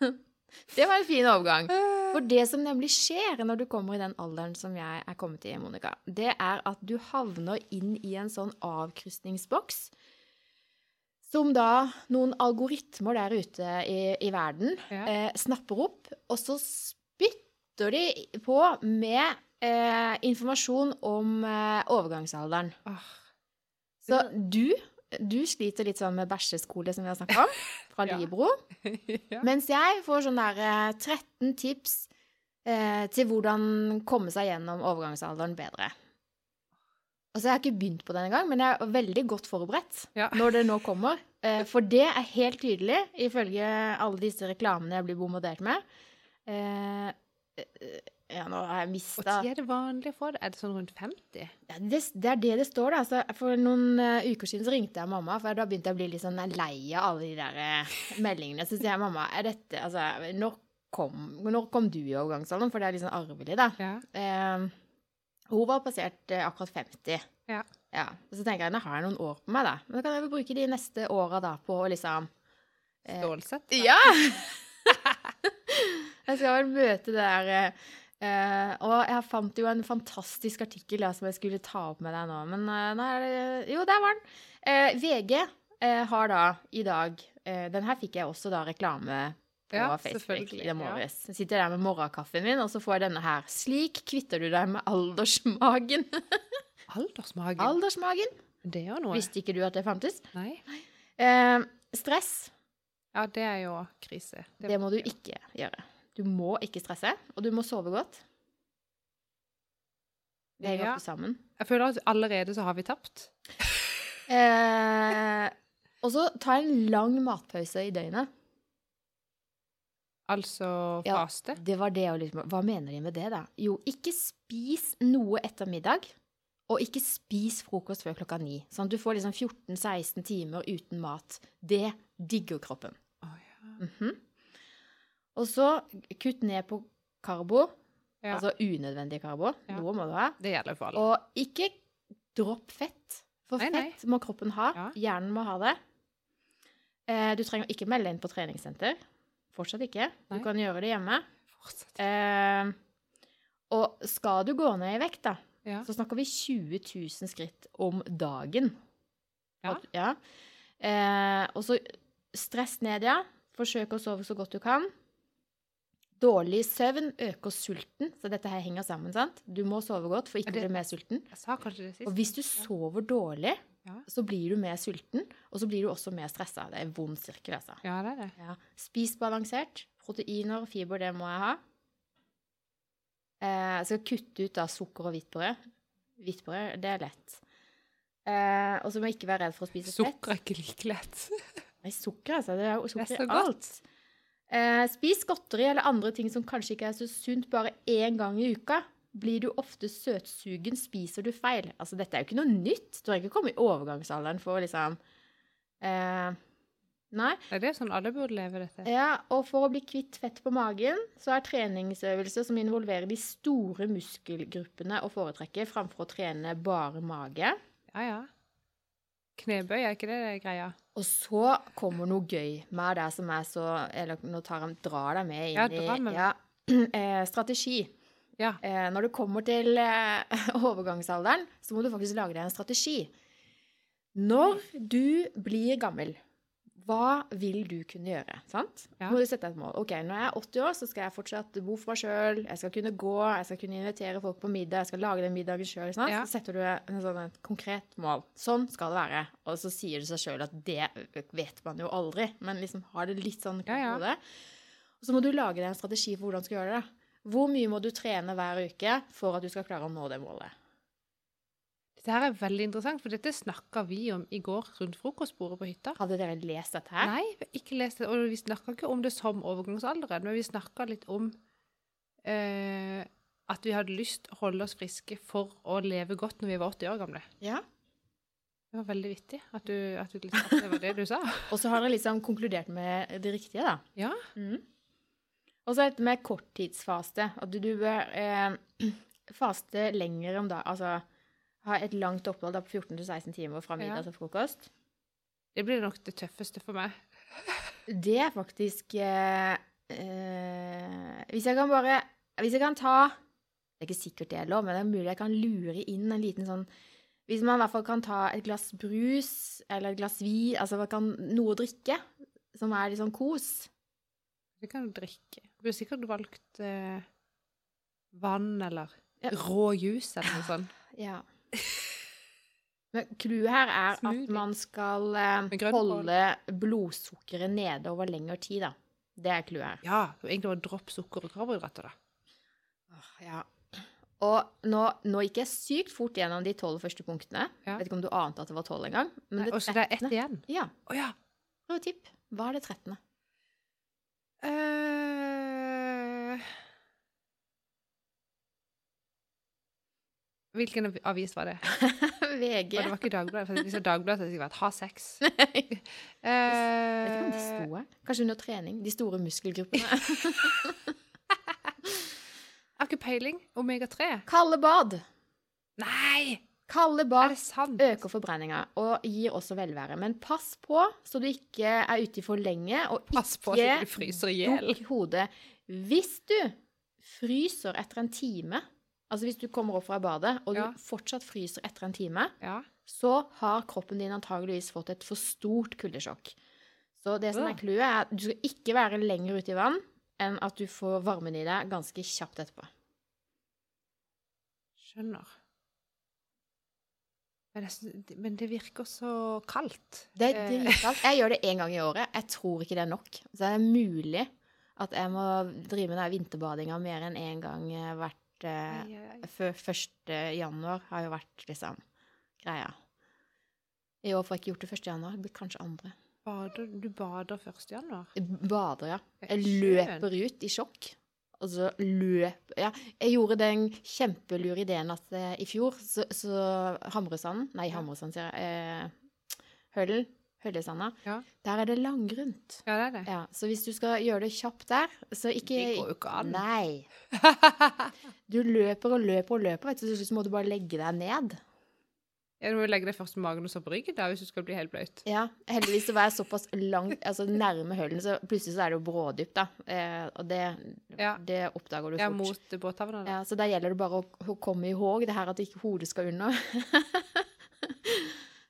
Speaker 2: Det var en fin overgang. For det som nemlig skjer når du kommer i den alderen som jeg er kommet i, Monica, det er at du havner inn i en sånn avkrysningsboks som da noen algoritmer der ute i, i verden
Speaker 1: Ja.
Speaker 2: eh, snapper opp, og så spytter de på med eh, informasjon om eh, overgangsalderen.
Speaker 1: Åh,
Speaker 2: Så du, du sliter litt sånn med bæsjeskole, som vi har snakka om, fra
Speaker 1: Ja.
Speaker 2: Libro.
Speaker 1: ja.
Speaker 2: Mens jeg får sånn der eh, 13 tips eh, til hvordan komme seg gjennom overgangsalderen bedre. Altså, jeg har ikke begynt på den engang, men jeg er veldig godt forberedt
Speaker 1: Ja.
Speaker 2: når det nå kommer. Eh, for det er helt tydelig, ifølge alle disse reklamene jeg blir bombardert med. Eh, eh, ja, nå har jeg
Speaker 1: Og
Speaker 2: mista
Speaker 1: tid er det vanlig å få det? Er det sånn rundt 50?
Speaker 2: ja, det, det er det det står, da. Så for noen eh, uker siden så ringte jeg mamma, for da begynte jeg å bli litt sånn lei av alle de der eh, meldingene. Så sier jeg mamma, er dette Altså, når kom, når kom du i overgangsalderen? For det er litt sånn arvelig, da.
Speaker 1: Ja.
Speaker 2: Eh, hun var passert eh, akkurat 50.
Speaker 1: Ja.
Speaker 2: Og Så tenker jeg, nå har jeg noen år på meg, da. Men da kan jeg vel bruke de neste åra da på å liksom Eh,
Speaker 1: Stålsett?
Speaker 2: ja! jeg skal vel møte det der eh, eh, Og jeg fant jo en fantastisk artikkel da, som jeg skulle ta opp med deg nå, men eh, nå er det Jo, der var den! Eh, VG eh, har da i dag eh, Den her fikk jeg også da reklame på
Speaker 1: Ja,
Speaker 2: Facebook
Speaker 1: selvfølgelig,
Speaker 2: i
Speaker 1: ja.
Speaker 2: morges. Jeg Sitter der med morgenkaffen min, og så får jeg denne her. Slik kvitter du deg med aldersmagen.
Speaker 1: Aldersmagen?
Speaker 2: aldersmagen?
Speaker 1: det er jo noe.
Speaker 2: Visste ikke du at det fantes?
Speaker 1: Nei.
Speaker 2: Eh, stress.
Speaker 1: Ja, det er jo krise.
Speaker 2: Det må du ikke gjøre. Du må ikke stresse, og du må sove godt. Det henger
Speaker 1: Ja.
Speaker 2: ofte sammen.
Speaker 1: Jeg føler at allerede så har vi tapt.
Speaker 2: Eh, og så ta en lang matpause i døgnet.
Speaker 1: Altså
Speaker 2: Ja.
Speaker 1: faste.
Speaker 2: Det var det jeg var litt Hva mener de med det, da? Jo, ikke spis noe etter middag, og ikke spis frokost før klokka ni. Sånn at du får liksom 14-16 timer uten mat. Det digger kroppen.
Speaker 1: Å, ja.
Speaker 2: Mhm. Og så kutt ned på karbo.
Speaker 1: Ja.
Speaker 2: Altså unødvendig karbo.
Speaker 1: Ja.
Speaker 2: Noe må du ha.
Speaker 1: Det gjelder jo for alle.
Speaker 2: Og ikke dropp fett. For
Speaker 1: Nei, nei.
Speaker 2: fett må kroppen ha.
Speaker 1: Ja.
Speaker 2: Hjernen må ha det. Eh, Du trenger ikke melde inn på treningssenter. Fortsatt ikke. Du
Speaker 1: Nei.
Speaker 2: kan gjøre det hjemme.
Speaker 1: Fortsett.
Speaker 2: Eh, Og skal du gå ned i vekt, da,
Speaker 1: Ja.
Speaker 2: så snakker vi 20 000 skritt om dagen.
Speaker 1: Ja.
Speaker 2: Og- ja. Eh, og så stress ned, ja. Forsøk å sove så godt du kan. Dårlig søvn øker sulten, så dette her henger sammen. sant? Du må sove godt for ikke
Speaker 1: Er
Speaker 2: å
Speaker 1: det-
Speaker 2: bli mer sulten.
Speaker 1: Jeg sa kanskje det sist.
Speaker 2: Og hvis du sover dårlig,
Speaker 1: Ja.
Speaker 2: så blir du mer sulten, og så blir du også mer stressa. Det er en vond sirkel, altså.
Speaker 1: Ja, det er det.
Speaker 2: Ja. Spis balansert. Proteiner og fiber, det må jeg ha. Eh, jeg skal kutte ut da sukker og hvittbrød. Hvittbrød, det er lett. Eh, og så må jeg ikke være redd for å spise
Speaker 1: Sukker er ikke like lett.
Speaker 2: fett. Nei, sukker, altså. Det er jo
Speaker 1: Det
Speaker 2: sukker
Speaker 1: er så
Speaker 2: i alt. Eh, spis godteri eller andre ting som kanskje ikke er så sunt, bare én gang i uka. Blir du ofte søtsugen, spiser du feil. Altså, dette er jo ikke noe nytt. Du har ikke kommet i overgangsalderen for å liksom eh, Nei.
Speaker 1: Nei, Det er sånn alle burde leve dette.
Speaker 2: Ja, og for å bli kvitt fett på magen, så er treningsøvelser som involverer de store muskelgruppene å foretrekke framfor å trene bare mage.
Speaker 1: Ja, ja. Knebøy, er ikke det det er greia?
Speaker 2: Og så kommer noe gøy med det som er så Eller nå tar han, drar deg med
Speaker 1: Ja,
Speaker 2: inn
Speaker 1: drar meg
Speaker 2: i
Speaker 1: med.
Speaker 2: ja, eh, strategi.
Speaker 1: Ja.
Speaker 2: Eh, når du kommer til eh, overgangsalderen, så må du faktisk lage deg en strategi. Når du blir gammel, hva vil du kunne gjøre? Sant? Så
Speaker 1: Ja.
Speaker 2: Må du sette deg et mål. Ok, når jeg er 80 år, så skal jeg fortsatt bo for meg sjøl. Jeg skal kunne gå, jeg skal kunne invitere folk på middag, jeg skal lage den middagen sjøl.
Speaker 1: Ja.
Speaker 2: Så setter du en sånn, et konkret mål. Sånn skal det være. Og så sier det seg sjøl at det vet man jo aldri, men liksom har det litt sånn
Speaker 1: Ja,
Speaker 2: klart i
Speaker 1: ja.
Speaker 2: hodet. Og så må du lage deg en strategi for hvordan du skal gjøre det. Hvor mye må du trene hver uke for at du skal klare å nå det målet?
Speaker 1: Dette her er veldig interessant, for dette snakka vi om i går rundt frokostbordet på hytta.
Speaker 2: Hadde dere lest dette her?
Speaker 1: Nei, vi har ikke lest det. Og vi snakka ikke om det som overgangsalderen, men vi snakka litt om eh, at vi hadde lyst å holde oss friske for å leve godt når vi var 80 år gamle.
Speaker 2: Ja.
Speaker 1: Det var veldig vittig at du, at du liksom, at det var det du sa.
Speaker 2: Og så har jeg liksom konkludert med det riktige, da.
Speaker 1: Ja.
Speaker 2: Mhm. Og så dette med korttidsfaste. At du, du bør eh, faste lenger om dagen. Altså ha et langt opphold da på 14-16 timer fra middag
Speaker 1: Ja.
Speaker 2: til frokost.
Speaker 1: Det blir nok det tøffeste for meg.
Speaker 2: Det er faktisk eh, eh, Hvis jeg kan bare Hvis jeg kan ta Det er ikke sikkert det er lov, men det er mulig jeg kan lure inn en liten sånn Hvis man i hvert fall kan ta et glass brus eller et glass vin, altså man kan, noe å drikke som er litt sånn kos.
Speaker 1: Det kan du drikke. Du burde sikkert valgt eh, vann eller
Speaker 2: Ja.
Speaker 1: rå juice eller noe sånt.
Speaker 2: Ja. Men clouet her er at
Speaker 1: Smoothie.
Speaker 2: man skal eh,
Speaker 1: Med grønn
Speaker 2: holde blodsukkeret nede over lengre tid, da. Det er clouet her.
Speaker 1: Ja, det var egentlig bare dropp sukker og karbohydrater, da.
Speaker 2: Ah, Og nå, nå gikk jeg sykt fort gjennom de tolv første punktene.
Speaker 1: Ja.
Speaker 2: Vet ikke om du ante at det var tolv engang. Men det
Speaker 1: Og så det er ett
Speaker 2: trettende-
Speaker 1: igjen.
Speaker 2: Ja.
Speaker 1: Å ja.
Speaker 2: Prøv å tippe. Hva er det trettende?
Speaker 1: Eh, Hvilken av- avis var det? Og
Speaker 2: VG.
Speaker 1: det var ikke Dagbladet. For hvis det er Dagbladet, hadde det sikkert vært ha sex.
Speaker 2: Jeg vet ikke om det
Speaker 1: Eh,
Speaker 2: sto her. Kanskje under trening. De store muskelgruppene.
Speaker 1: jeg har ikke peiling. Omega-3?
Speaker 2: Kalde bad.
Speaker 1: Nei!
Speaker 2: Kalde
Speaker 1: Er
Speaker 2: bad
Speaker 1: det sant?
Speaker 2: øker forbrenninga og gir også velvære. Men pass på så du ikke er ute i for lenge, og
Speaker 1: Pass på at du
Speaker 2: ikke
Speaker 1: ikke fryser i hjel.
Speaker 2: dukk hodet. Hvis du fryser etter en time, altså hvis du kommer opp fra badet og du
Speaker 1: Ja.
Speaker 2: fortsatt fryser etter en time,
Speaker 1: Ja.
Speaker 2: så har kroppen din antageligvis fått et for stort kuldesjokk. Så det som er
Speaker 1: Ja.
Speaker 2: clouet, er at du skal ikke være lenger ute i vann enn at du får varmen i deg ganske kjapt etterpå.
Speaker 1: Skjønner. Men, jeg syns- men det virker så kaldt.
Speaker 2: Det er
Speaker 1: Eh,
Speaker 2: dritkaldt. Jeg gjør det én gang i året. Jeg tror ikke det er nok. Så det er mulig at jeg må drive med den vinterbadinga mer enn én gang eh, hvert eh,
Speaker 1: ai, ai, ai.
Speaker 2: før 1. januar har jo vært liksom greia. I år får jeg ikke gjort det 1. januar. Det blir kanskje andre.
Speaker 1: Bader, du bader 1. januar?
Speaker 2: Jeg bader, ja. Jeg
Speaker 1: Skjønt.
Speaker 2: løper ut i sjokk. Og så løp Ja, jeg gjorde den kjempelure ideen at eh, i fjor så, så Hamresanden Nei, Hamresand, sier jeg. Eh, Hølen. Høllesanda.
Speaker 1: Ja.
Speaker 2: Der er det langgrunt.
Speaker 1: Ja, det er det.
Speaker 2: Ja, så hvis du skal gjøre det kjapt der, så ikke
Speaker 1: Det går jo ikke an.
Speaker 2: Nei. Du løper og løper og løper, vet du, så til slutt må du bare legge deg ned.
Speaker 1: Ja, du må jo legge deg først på magen og så på ryggen da, hvis du skal bli helt bløt.
Speaker 2: Ja, heldigvis så var jeg såpass langt, altså nærme hølen, så plutselig så er det jo brådypt, da. Eh, og det,
Speaker 1: Ja.
Speaker 2: det oppdager du
Speaker 1: Ja,
Speaker 2: fort.
Speaker 1: mot båthavna. da.
Speaker 2: Ja, så der gjelder det bare å, å komme i håg det her at ikke hodet skal under.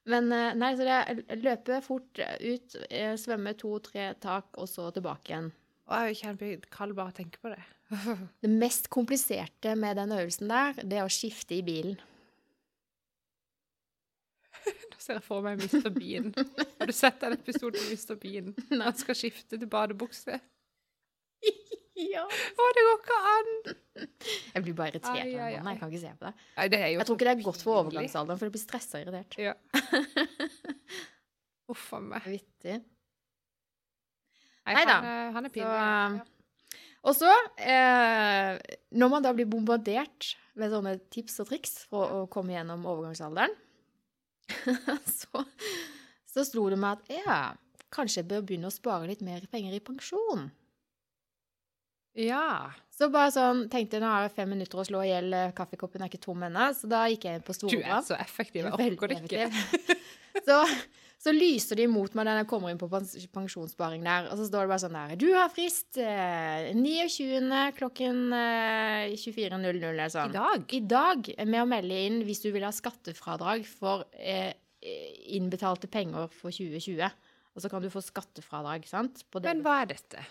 Speaker 2: Men eh, nei, så det er løpe fort ut, eh, svømme to-tre tak, og så tilbake igjen.
Speaker 1: Å, jeg kjenner jeg blir kald bare av å tenke på det.
Speaker 2: Det mest kompliserte med den øvelsen der, det er å skifte i bilen.
Speaker 1: Nå ser jeg for meg Mr. Bean. Har du sett den episoden med Mr. Bean? Han skal skifte til badebukse.
Speaker 2: Ja.
Speaker 1: Å, det går ikke an!
Speaker 2: Jeg blir bare irritert av
Speaker 1: Ai, ai,
Speaker 2: den mannen.
Speaker 1: ai.
Speaker 2: Jeg kan ikke se på det.
Speaker 1: Nei, det er jo
Speaker 2: Jeg tror ikke det er godt for altså.
Speaker 1: pinlig.
Speaker 2: overgangsalderen, for jeg blir stressa og irritert.
Speaker 1: Ja. Uff a meg.
Speaker 2: Vittig.
Speaker 1: Nei,
Speaker 2: Nei da.
Speaker 1: han, eh, han er
Speaker 2: Så, um,
Speaker 1: pinlig. ja.
Speaker 2: Og så, eh, når man da blir bombardert med sånne tips og triks for å komme gjennom overgangsalderen, så, så slo det meg at ja, kanskje jeg bør begynne å spare litt mer penger i pensjon.
Speaker 1: Ja.
Speaker 2: Så bare sånn, tenkte jeg, nå har jeg fem minutter å slå i hjel, eh, kaffekoppen er ikke tom ennå, så da gikk jeg inn på
Speaker 1: Du er
Speaker 2: Storebrand.
Speaker 1: så effektiv. Jeg
Speaker 2: Veldig
Speaker 1: orker det ikke.
Speaker 2: effektiv. så, så lyser de imot meg når jeg kommer inn på pens- pensjonssparing der, og så står det bare sånn der Du har frist eh, 29. klokken eh, 24.00 eller
Speaker 1: I
Speaker 2: sånn.
Speaker 1: dag.
Speaker 2: I dag med å melde inn hvis du vil ha skattefradrag for eh, innbetalte penger for 2020. Og så kan du få skattefradrag, sant? På det
Speaker 1: Men hva er dette?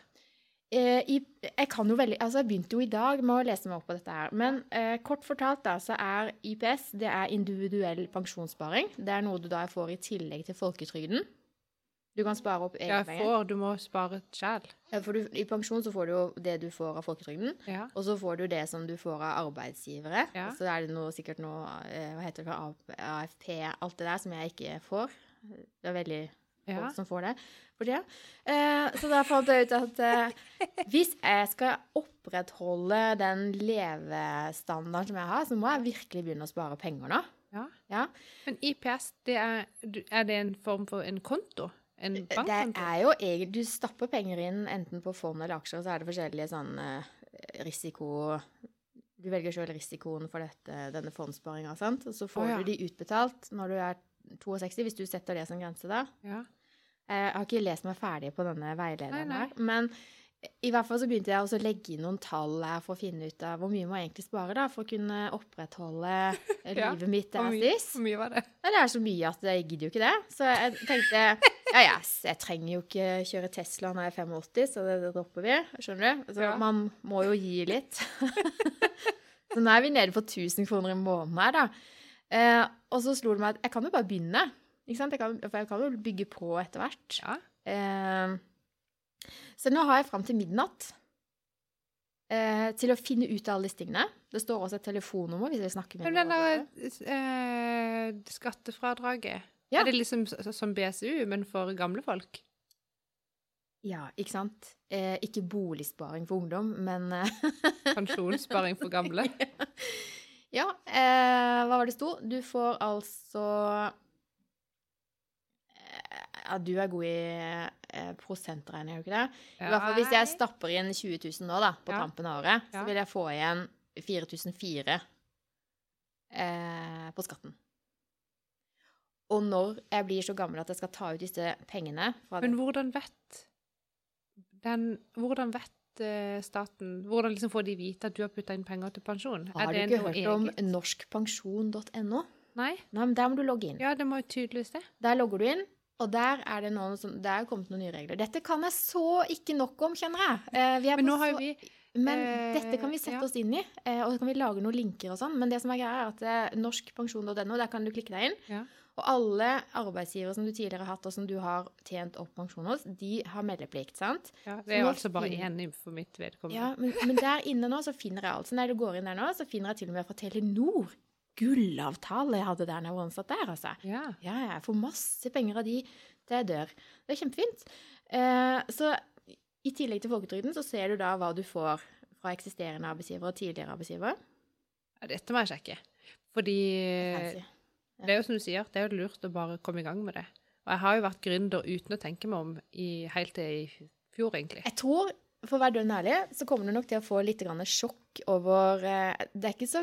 Speaker 2: Eh, i, jeg kan jo veldig, altså jeg begynte jo i dag med å lese meg opp på dette her, men eh, kort fortalt da, så er IPS, det er individuell pensjonssparing. Det er noe du da får i tillegg til folketrygden. Du kan spare opp egne
Speaker 1: Jeg
Speaker 2: penger.
Speaker 1: får, du må spare sjæl.
Speaker 2: Ja, for du, I pensjon så får du jo det du får av folketrygden,
Speaker 1: Ja.
Speaker 2: og så får du det som du får av arbeidsgivere.
Speaker 1: Ja.
Speaker 2: Og Så er det noe, sikkert noe, eh, hva heter det, for A- AFP, alt det der som jeg ikke får. Det er veldig folk
Speaker 1: ja.
Speaker 2: som får det for tida. Eh, så da fant jeg ut at eh, hvis jeg skal opprettholde den levestandarden som jeg har, så må jeg virkelig begynne å spare penger nå.
Speaker 1: Ja. Ja.
Speaker 2: Ja.
Speaker 1: Men IPS, det er, du- er det en form for en konto? En
Speaker 2: Eh, Det
Speaker 1: bankkonto?
Speaker 2: er jo egentlig Du stapper penger inn enten på fond eller aksjer, og så er det forskjellige sånn eh, risiko Du velger sjøl risikoen for dette, denne fondssparinga, sant? Og så får
Speaker 1: Å, ja.
Speaker 2: du de utbetalt når du er 62, hvis du setter det som grense, da.
Speaker 1: Ja.
Speaker 2: Eh, Jeg har ikke lest meg ferdig på denne veilederen
Speaker 1: Nei, nei.
Speaker 2: her. Men i hvert fall så begynte jeg også å legge inn noen tall her for å finne ut av hvor mye må jeg egentlig spare da, for å kunne opprettholde
Speaker 1: Ja,
Speaker 2: livet mitt
Speaker 1: Hvor
Speaker 2: as
Speaker 1: mye,
Speaker 2: is.
Speaker 1: hvor mye var det?
Speaker 2: Nei, det er så mye at jeg gidder jo ikke det. Så jeg tenkte ja, ja, s- jeg trenger jo ikke kjøre Tesla når jeg er 85, så det, det dropper vi. Skjønner du? Så
Speaker 1: Ja.
Speaker 2: man må jo gi litt. så nå er vi nede på 1000 kroner i måneden her, da. Eh, og så slo det meg at jeg kan jo bare begynne. Ikke sant? Jeg kan, for jeg kan jo bygge på etter hvert.
Speaker 1: Ja.
Speaker 2: Eh, så nå har jeg fram til midnatt eh, til å finne ut av alle disse tingene. Det står også et telefonnummer hvis jeg snakker med
Speaker 1: Men
Speaker 2: noen
Speaker 1: den
Speaker 2: over
Speaker 1: der
Speaker 2: det.
Speaker 1: eh, skattefradraget,
Speaker 2: Ja.
Speaker 1: er det liksom s- s- som BSU, men for gamle folk?
Speaker 2: Ja, ikke sant? Eh, ikke boligsparing for ungdom, men eh,
Speaker 1: Pensjonssparing for gamle?
Speaker 2: Ja, eh, hva var det sto? Du får altså eh, Ja, du er god i eh, prosentregning, er du ikke det? I hvert fall hvis jeg stapper inn 20 000 nå, da, på
Speaker 1: Ja.
Speaker 2: tampen av året, så
Speaker 1: Ja.
Speaker 2: vil jeg få igjen 4004 eh, på skatten. Og når jeg blir så gammel at jeg skal ta ut disse pengene fra
Speaker 1: Men hvordan vet den Hvordan vet eh, staten Hvordan liksom får de vite at du har putta inn penger til pensjon?
Speaker 2: Har du
Speaker 1: det
Speaker 2: ikke
Speaker 1: noe
Speaker 2: hørt om
Speaker 1: eget?
Speaker 2: norskpensjon.no?
Speaker 1: Nei?
Speaker 2: Nei, men Der må du logge inn.
Speaker 1: Ja, det må jo tydeligvis det.
Speaker 2: Der logger du inn, og der er det noen som, der er kommet noen nye regler. Dette kan jeg så ikke nok om, kjenner jeg. Eh, vi er
Speaker 1: Men
Speaker 2: på
Speaker 1: nå har jo
Speaker 2: så,
Speaker 1: vi
Speaker 2: men
Speaker 1: eh,
Speaker 2: dette kan vi sette
Speaker 1: ja.
Speaker 2: oss inn i, eh, og så kan vi lage noen linker og sånn. Men det som er greia, er at eh, norskpensjon.no, der kan du klikke deg inn.
Speaker 1: Ja.
Speaker 2: Og alle arbeidsgivere som du tidligere har hatt, og som du har tjent opp pensjon hos, de har meldeplikt, sant?
Speaker 1: ja, Det er
Speaker 2: nå
Speaker 1: jo altså bare
Speaker 2: fin-
Speaker 1: én for mitt vedkommende.
Speaker 2: Ja, men, men der inne nå så finner jeg altså, når du går inn der nå, så finner jeg til og med fra Telenor gullavtale jeg hadde der når jeg var ansatt der, altså.
Speaker 1: Ja.
Speaker 2: Ja, ja, jeg får masse penger av de til jeg dør. Det er kjempefint. Eh, så i tillegg til folketrygden så ser du da hva du får fra eksisterende arbeidsgiver og tidligere arbeidsgiver.
Speaker 1: Ja, Dette må jeg sjekke. Fordi
Speaker 2: Fancy.
Speaker 1: Det er jo som du sier, det er jo lurt å bare komme i gang med det. Og jeg har jo vært gründer uten å tenke meg om i, helt til i fjor, egentlig.
Speaker 2: Jeg tror, for å være dønn ærlig, så kommer du nok til å få litt grann sjokk over eh, Det er ikke så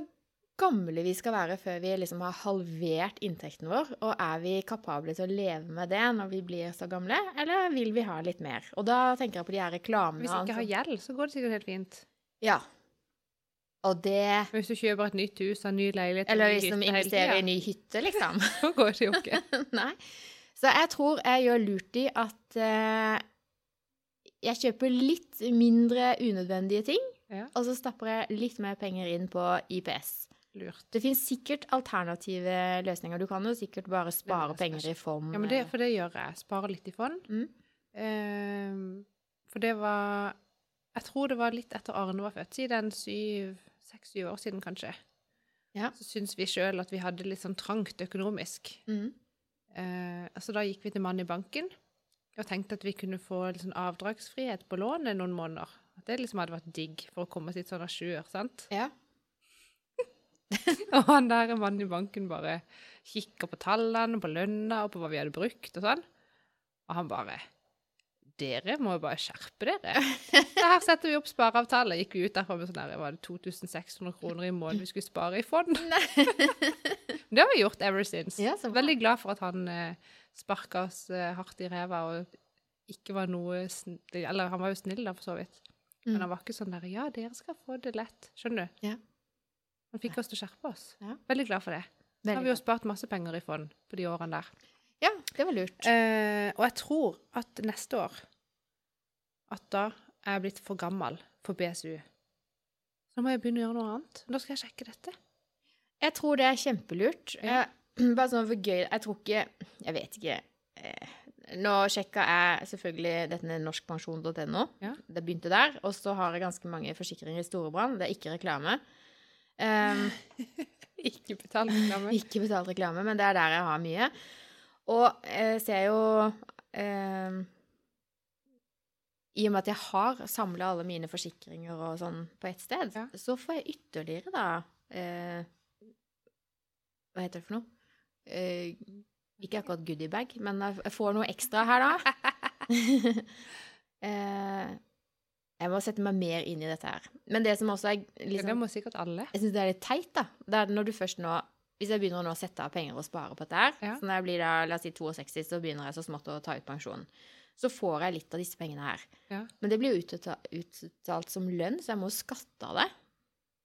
Speaker 2: gamle vi skal være før vi liksom har halvert inntekten vår. Og er vi kapable til å leve med det når vi blir så gamle, eller vil vi ha litt mer? Og da tenker jeg på de her reklamene.
Speaker 1: Hvis jeg ikke
Speaker 2: altså.
Speaker 1: har gjeld, så går det sikkert helt fint.
Speaker 2: Ja. Og det
Speaker 1: Men hvis du kjøper et nytt hus og en ny leilighet og en
Speaker 2: Eller
Speaker 1: ny
Speaker 2: hvis de
Speaker 1: hytte hele
Speaker 2: investerer i
Speaker 1: tiden,
Speaker 2: ny hytte, liksom.
Speaker 1: Så går det jo ikke.
Speaker 2: Nei. Så jeg tror jeg gjør lurt i at eh, jeg kjøper litt mindre unødvendige ting,
Speaker 1: Ja.
Speaker 2: og så stapper jeg litt mer penger inn på IPS.
Speaker 1: Lurt.
Speaker 2: Det fins sikkert alternative løsninger. Du kan jo sikkert bare spare
Speaker 1: det er
Speaker 2: penger i fond.
Speaker 1: Ja, men det, for det gjør jeg. Sparer litt i fond.
Speaker 2: Mm.
Speaker 1: Ehm, for det var Jeg tror det var litt etter Arne var født, siden syv, seks-syv år siden, kanskje.
Speaker 2: Ja.
Speaker 1: Så syns vi sjøl at vi hadde litt sånn trangt økonomisk.
Speaker 2: Mm.
Speaker 1: Eh, altså da gikk vi til mannen i banken og tenkte at vi kunne få litt sånn avdragsfrihet på lånet noen måneder. At det liksom hadde vært digg for å komme sitt sånn à jour, sant?
Speaker 2: Ja.
Speaker 1: Og han der mannen i banken bare kikker på tallene, på lønna og på hva vi hadde brukt og sånn. Og han bare Dere må jo bare skjerpe dere. Så her setter vi opp spareavtale. Gikk vi ut derfra med sånn der, var det 2600 kroner i måneden vi skulle spare i fond? Det har vi gjort ever since.
Speaker 2: Ja, så bra.
Speaker 1: Veldig glad for at han eh, sparka oss eh, hardt i ræva og ikke var noe sn Eller han var jo snill, da, for så vidt.
Speaker 2: Mm.
Speaker 1: Men han var ikke sånn der Ja, dere skal få det lett. Skjønner du?
Speaker 2: Ja.
Speaker 1: Han fikk oss til å skjerpe oss.
Speaker 2: Ja.
Speaker 1: Veldig glad for det. Så har
Speaker 2: Veldig
Speaker 1: vi jo spart masse penger i fond på de årene der.
Speaker 2: bra. ja, det var lurt.
Speaker 1: Eh, og jeg tror at neste år At da er jeg blitt for gammel for BSU. Så må jeg begynne å gjøre noe annet. Da skal jeg sjekke dette.
Speaker 2: Jeg tror det er kjempelurt.
Speaker 1: Ja.
Speaker 2: Jeg, bare sånn for gøy Jeg tror ikke Jeg vet ikke. eh, Nå sjekka jeg selvfølgelig dette med norskpensjon.no.
Speaker 1: Ja.
Speaker 2: Det begynte der. Og så har jeg ganske mange forsikringer i Storebrand. Det er ikke reklame. Um,
Speaker 1: Ikke betale reklame.
Speaker 2: ikke betalt reklame, men det er der jeg har mye. Og eh, ser jo eh, I og med at jeg har samla alle mine forsikringer og sånn på ett sted,
Speaker 1: Ja.
Speaker 2: så får jeg ytterligere da eh, Hva heter det for noe? Eh, ikke akkurat goodiebag, men jeg jeg får noe ekstra her, da. eh, jeg må sette meg mer inn i dette her. Men det som også er
Speaker 1: Ja, det
Speaker 2: liksom,
Speaker 1: må sikkert alle.
Speaker 2: Jeg syns det er litt teit, da. Det er når du først nå Hvis jeg begynner å nå sette av penger og spare på dette her,
Speaker 1: Ja.
Speaker 2: så når jeg blir da, la oss si 62, så begynner jeg så smått å ta ut pensjon. Så får jeg litt av disse pengene her.
Speaker 1: Ja.
Speaker 2: Men det blir jo utbeta- utbetalt som lønn, så jeg må jo skatte av det.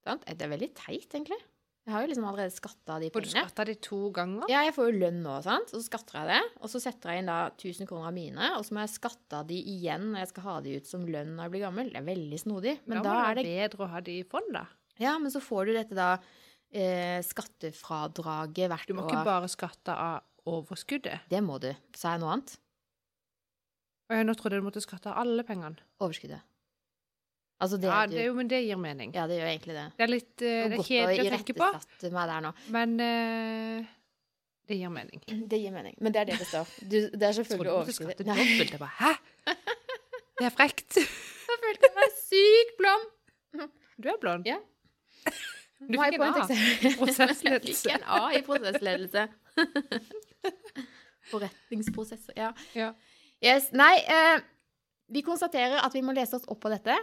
Speaker 2: Sant? Det er veldig teit, egentlig. Jeg har jo liksom allerede skatta av de
Speaker 1: Får du
Speaker 2: pengene.
Speaker 1: skatta de to ganger?
Speaker 2: Ja, jeg får jo lønn nå, sant? og så skatter jeg det. Og så setter jeg inn da 1000 kroner av mine, og så må jeg skatte av de igjen når jeg skal ha de ut som lønn når jeg blir gammel. Det er veldig snodig. Men da,
Speaker 1: må
Speaker 2: er det
Speaker 1: være bedre å ha de i fond, da.
Speaker 2: Ja, men så får du dette da eh, skattefradraget hvert
Speaker 1: Du må
Speaker 2: år.
Speaker 1: ikke bare skatte av overskuddet.
Speaker 2: Det må du. Sa jeg noe annet?
Speaker 1: Og jeg nå trodde du måtte skatte av alle pengene.
Speaker 2: Overskuddet. Altså det,
Speaker 1: Ja,
Speaker 2: du,
Speaker 1: det, er jo, men det gir mening.
Speaker 2: ja, det gjør egentlig det.
Speaker 1: Det er litt eh,
Speaker 2: Det var
Speaker 1: det er
Speaker 2: godt å
Speaker 1: kjedelig å tenke på,
Speaker 2: irettesatte meg der nå.
Speaker 1: men eh, det gir mening.
Speaker 2: Det gir mening. Men det er det det står. Du, det er
Speaker 1: Jeg trodde
Speaker 2: selvfølgelig
Speaker 1: du måtte skatte
Speaker 2: overskuddet. Nei,
Speaker 1: dobbelt. Jeg bare, hæ? Det er frekt.
Speaker 2: jeg følte meg sykt blond!
Speaker 1: Du er blond.
Speaker 2: Ja.
Speaker 1: Du
Speaker 2: High
Speaker 1: fikk en
Speaker 2: point
Speaker 1: A.
Speaker 2: exam. Jeg
Speaker 1: Prosessledelse.
Speaker 2: fikk en A i prosessledelse. Forretningsprosesser, ja.
Speaker 1: Ja.
Speaker 2: Yes, nei, eh, vi konstaterer at vi må lese oss opp på dette.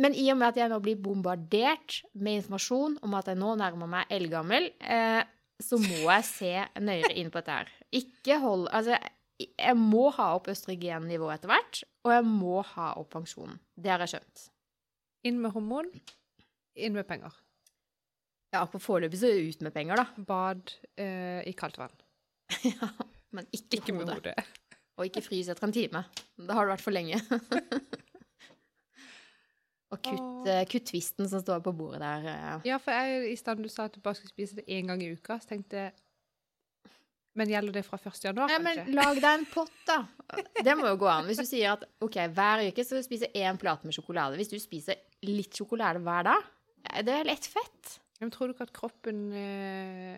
Speaker 2: Men i og med at jeg nå blir bombardert med informasjon om at jeg nå nærmer meg eldgammel, eh, så må jeg se nøyere inn på dette her. Ikke hold Altså, jeg må ha opp østrogennivået etter hvert, og jeg må ha opp pensjonen. Det har jeg skjønt.
Speaker 1: Inn med hormon, inn med penger.
Speaker 2: Ja, på foreløpig så ut med penger, da.
Speaker 1: Bad eh, i kaldt vann.
Speaker 2: Ja, men ikke,
Speaker 1: Ikke med
Speaker 2: hodet.
Speaker 1: hodet.
Speaker 2: Og ikke frys etter en time. Da har du vært for lenge. og kutt,
Speaker 1: Åh.
Speaker 2: eh, kutt tvisten som står på bordet der. eh.
Speaker 1: Ja, for jeg, i stedet du sa at du bare skulle spise det én gang i uka, så tenkte jeg Men gjelder det fra 1. januar,
Speaker 2: Nei,
Speaker 1: kanskje?
Speaker 2: men lag deg en pott, da. Det må jo gå an. Hvis du sier at ok, hver uke så spiser jeg én plate med sjokolade. Hvis du spiser litt sjokolade hver dag, eh, det er lett fett.
Speaker 1: Men tror du ikke at kroppen eh,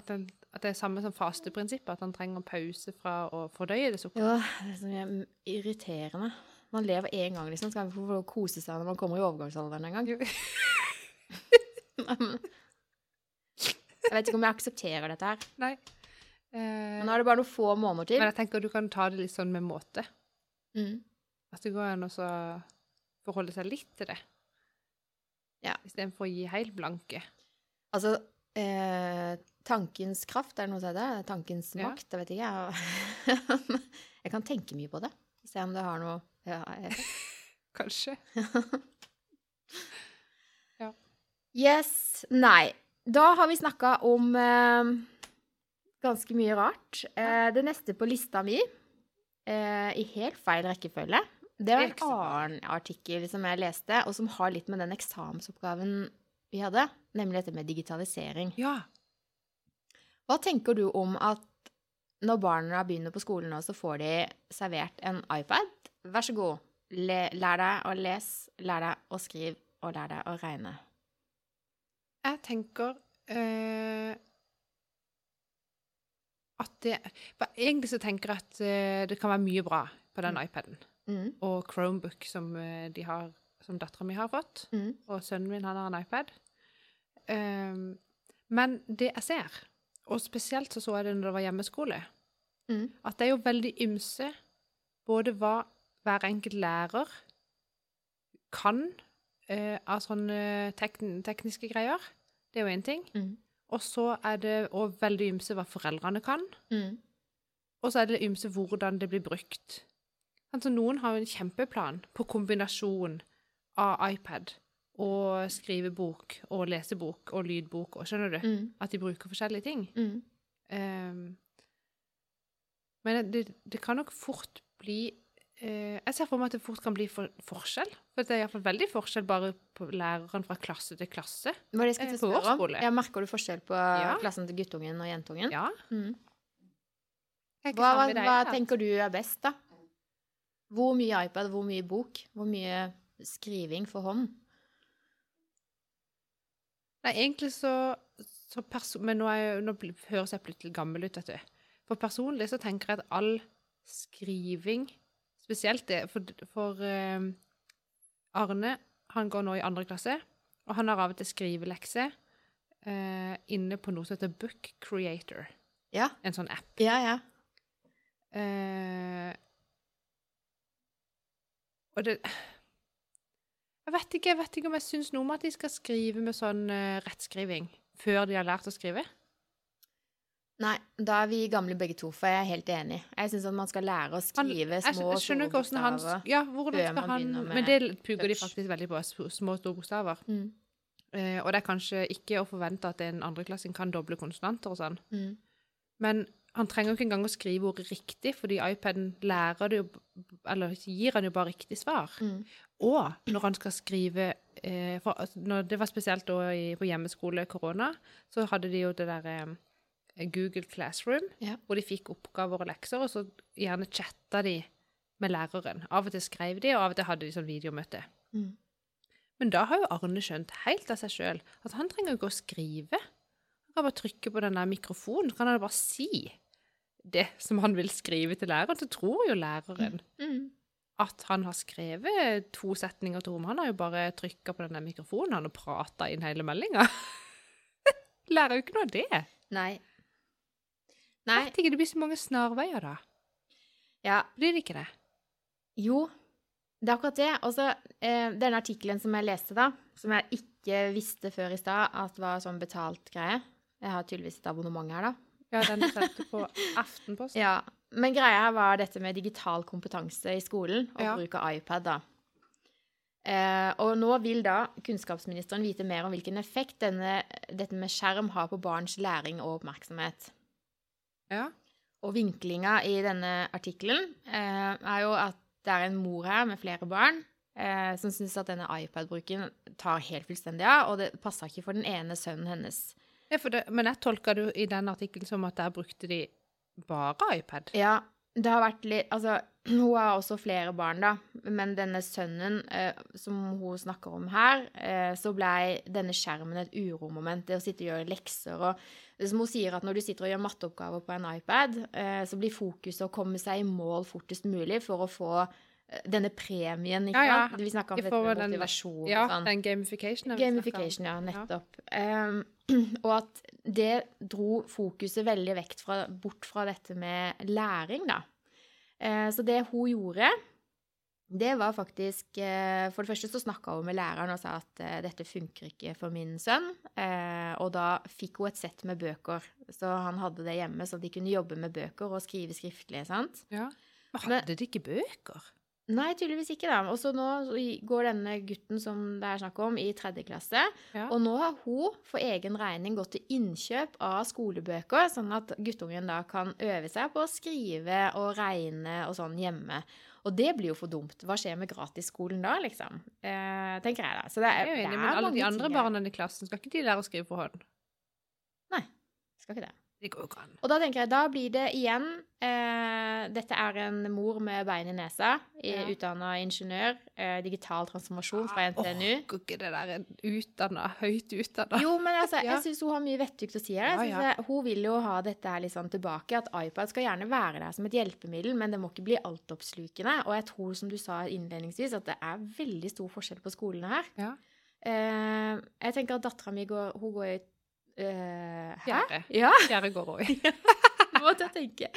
Speaker 1: at, den, at det er samme som fasteprinsippet, at han trenger pause fra å fordøye det sukkeret?
Speaker 2: Ja, det er så mye irriterende. Man lever én gang, liksom. Skal man få lov å kose seg når man kommer i overgangsalderen en gang?
Speaker 1: Jo.
Speaker 2: Nei, men- Jeg vet ikke om jeg aksepterer dette her.
Speaker 1: Nei. Eh,
Speaker 2: Men nå er det bare noen få måneder til.
Speaker 1: men jeg tenker du kan ta det litt sånn med måte.
Speaker 2: Mm.
Speaker 1: At det går an å så forholde seg litt til det.
Speaker 2: Ja.
Speaker 1: Istedenfor å gi helt blanke.
Speaker 2: Altså, eh, tankens kraft, er det noe som heter? Tankens
Speaker 1: Ja.
Speaker 2: makt? Jeg vet ikke. Jeg, jeg kan tenke mye på det. Se om det har noe ja, eh.
Speaker 1: Kanskje.
Speaker 2: Yes. Nei. Da har vi snakka om eh, ganske mye rart. Eh, det neste på lista mi, eh, i helt feil rekkefølge, det var en
Speaker 1: Eksempelar.
Speaker 2: annen artikkel som jeg leste, og som har litt med den eksamensoppgaven vi hadde, nemlig dette med digitalisering.
Speaker 1: Ja.
Speaker 2: Hva tenker du om at når barna begynner på skolen nå, så får de servert en iPad? Vær så god, le, lær deg å lese, lær deg å skrive og lær deg å regne.
Speaker 1: Jeg tenker eh, at det for Egentlig så tenker jeg at eh, det kan være mye bra på den iPaden.
Speaker 2: Mm,
Speaker 1: Og Chromebook, som, eh, de har- som dattera mi har fått.
Speaker 2: mm,
Speaker 1: Og sønnen min han har en iPad. Ehm, men det jeg ser, og spesielt så så jeg det når det var hjemmeskole,
Speaker 2: mm.
Speaker 1: at det er jo veldig ymse både hva hver enkelt lærer kan eh, av sånne tekn tekniske greier. Det er jo én ting.
Speaker 2: Mm.
Speaker 1: Og så er det også veldig ymse hva foreldrene kan.
Speaker 2: Mm.
Speaker 1: Og så er det ymse hvordan det blir brukt. Altså, noen har jo en kjempeplan på kombinasjon av iPad og skrivebok og lesebok og lydbok og skjønner du?
Speaker 2: Mm.
Speaker 1: At de bruker forskjellige ting.
Speaker 2: Mm.
Speaker 1: Ehm, men det, det kan nok fort bli eh, Jeg ser for meg at det fort kan bli for, forskjell. For det er iallfall veldig forskjell bare på læreren fra klasse til klasse.
Speaker 2: Hva er det jeg skulle
Speaker 1: Eh, på
Speaker 2: til å
Speaker 1: vår
Speaker 2: spørre om?
Speaker 1: skole.
Speaker 2: Ja, merker du forskjell på
Speaker 1: Ja.
Speaker 2: klassen til guttungen og jentungen?
Speaker 1: Ja.
Speaker 2: Mm.
Speaker 1: jeg er ikke
Speaker 2: Hva, hva,
Speaker 1: sammen med deg,
Speaker 2: hva
Speaker 1: da.
Speaker 2: tenker du er best, da? Hvor mye iPad, hvor mye bok? Hvor mye skriving for hånd?
Speaker 1: Nei, egentlig så, så perso Men nå, er jeg, nå bl- høres jeg plutselig gammel ut, vet du. For personlig så tenker jeg at all skriving, spesielt det For, for eh, Arne, han går nå i andre klasse, og han har av og til skrivelekse. eh, inne på noe som heter Book Creator,
Speaker 2: Ja.
Speaker 1: en sånn app.
Speaker 2: Ja, ja.
Speaker 1: Eh, og det Jeg vet ikke, jeg vet ikke om jeg syns noe om at de skal skrive med sånn eh, rettskriving før de har lært å skrive.
Speaker 2: Nei, da er vi gamle begge to, for jeg er helt enig. Jeg syns at man skal lære å
Speaker 1: Han-
Speaker 2: skrive
Speaker 1: Jeg
Speaker 2: små,
Speaker 1: skj- skjønner
Speaker 2: store
Speaker 1: ikke hvordan han
Speaker 2: bokstaver.
Speaker 1: Ja, hvordan
Speaker 2: før
Speaker 1: skal
Speaker 2: man
Speaker 1: han
Speaker 2: begynner med
Speaker 1: Men det puker de
Speaker 2: touch.
Speaker 1: faktisk veldig på, sm- små og store bokstaver.
Speaker 2: Mm,
Speaker 1: Eh, og det er kanskje ikke å forvente at en andreklassing kan doble konsonanter og sånn.
Speaker 2: mm.
Speaker 1: Men han trenger jo ikke engang å skrive ordet riktig, fordi iPaden lærer det jo b- Eller gir han jo bare riktig svar.
Speaker 2: Mm.
Speaker 1: Og når han skal skrive eh, for, altså, når Det var spesielt da i, på hjemmeskole korona, så hadde de jo det derre eh, Google Classroom,
Speaker 2: Ja.
Speaker 1: hvor de fikk oppgaver og lekser, og så gjerne chatta de med læreren. Av og til skrev de, og av og til hadde de sånn videomøte.
Speaker 2: Mm.
Speaker 1: Men da har jo Arne skjønt helt av seg sjøl at han trenger jo ikke å skrive. Han kan bare trykke på den der mikrofonen, så kan han bare si det som han vil skrive til læreren. Så tror jo læreren
Speaker 2: Mm.
Speaker 1: at han har skrevet to setninger til henne. Han har jo bare trykka på den der mikrofonen han og prata inn hele meldinga. Lærer jo ikke noe av det.
Speaker 2: Nei. Nei.
Speaker 1: Vet ikke, det blir så mange snarveier da.
Speaker 2: Ja,
Speaker 1: Blir det ikke det?
Speaker 2: Jo, det er akkurat det. Og så eh, denne artikkelen som jeg leste da, som jeg ikke visste før i stad at var sånn betalt greie Jeg har tydeligvis et abonnement her, da.
Speaker 1: Ja, den sendte på Aftenposten.
Speaker 2: Ja, Men greia her var dette med digital kompetanse i skolen og
Speaker 1: Ja.
Speaker 2: bruk av iPad, da. Eh, og nå vil da kunnskapsministeren vite mer om hvilken effekt denne, dette med skjerm har på barns læring og oppmerksomhet.
Speaker 1: Ja.
Speaker 2: Og vinklinga i denne artikkelen eh, er jo at det er en mor her med flere barn eh, som syns at denne iPad-bruken tar helt fullstendig av, og det passer ikke for den ene sønnen hennes.
Speaker 1: Ja, for det, men jeg tolka det jo i den artikkelen som at der brukte de bare iPad.
Speaker 2: Ja, det har vært litt Altså, hun har også flere barn, da, men denne sønnen eh, som hun snakker om her, eh, så blei denne skjermen et uromoment. Det å sitte og gjøre lekser og det Som hun sier, at når du sitter og gjør matteoppgaver på en iPad, eh, så blir fokuset å komme seg i mål fortest mulig for å få eh, denne premien, ikke
Speaker 1: Ja, ja.
Speaker 2: sant? Vi snakka
Speaker 1: I
Speaker 2: om dette med
Speaker 1: forhold til den-
Speaker 2: motivasjon og
Speaker 1: Ja,
Speaker 2: sånn.
Speaker 1: den gamificationen. har vi snakket om.
Speaker 2: Gamification, ja, nettopp. Ehm, og at det dro fokuset veldig vekk fra, bort fra dette med læring, da. Eh, så det hun gjorde, det var faktisk eh, For det første så snakka hun med læreren og sa at eh, dette funker ikke for min sønn. Eh, og da fikk hun et sett med bøker, så han hadde det hjemme, så de kunne jobbe med bøker og skrive skriftlig. sant?
Speaker 1: Ja. Men
Speaker 2: Men-
Speaker 1: hadde de ikke bøker?
Speaker 2: Nei, tydeligvis ikke, da. Og så nå går denne gutten som det er snakk om, i tredje klasse.
Speaker 1: Ja.
Speaker 2: Og nå har hun for egen regning gått til innkjøp av skolebøker, sånn at guttungen da kan øve seg på å skrive og regne og sånn hjemme. Og det blir jo for dumt. Hva skjer med gratisskolen da, liksom? Eh, tenker jeg da. Så det
Speaker 1: jeg
Speaker 2: er,
Speaker 1: er jo enig,
Speaker 2: det
Speaker 1: men
Speaker 2: er
Speaker 1: alle de
Speaker 2: mange
Speaker 1: andre
Speaker 2: ting her.
Speaker 1: barna i klassen, skal ikke de lære å skrive for hånd?
Speaker 2: Skal ikke det.
Speaker 1: Det går jo ikke an.
Speaker 2: Og da tenker jeg, da blir det igjen eh, Dette er en mor med bein i nesa, ja.
Speaker 1: Ja. Ah,
Speaker 2: utdanna ingeniør, eh, digital transformasjon fra NTNU.
Speaker 1: Orker ikke det der utdanna, høyt utdanna.
Speaker 2: Jo, men altså,
Speaker 1: Ja.
Speaker 2: jeg syns hun har mye vettugt å si her. Jeg
Speaker 1: Ja,
Speaker 2: synes
Speaker 1: ja.
Speaker 2: jeg- Hun vil jo ha dette her litt sånn tilbake, at iPad skal gjerne være der som et hjelpemiddel, men det må ikke bli altoppslukende. Og jeg tror, som du sa innledningsvis, at det er veldig stor forskjell på skolene her.
Speaker 1: Ja.
Speaker 2: Eh, jeg tenker at dattera mi går, hun går i eh, Hæ?
Speaker 1: Fjerde.
Speaker 2: Ja,
Speaker 1: Fjerde går òg.
Speaker 2: det måtte jeg tenke.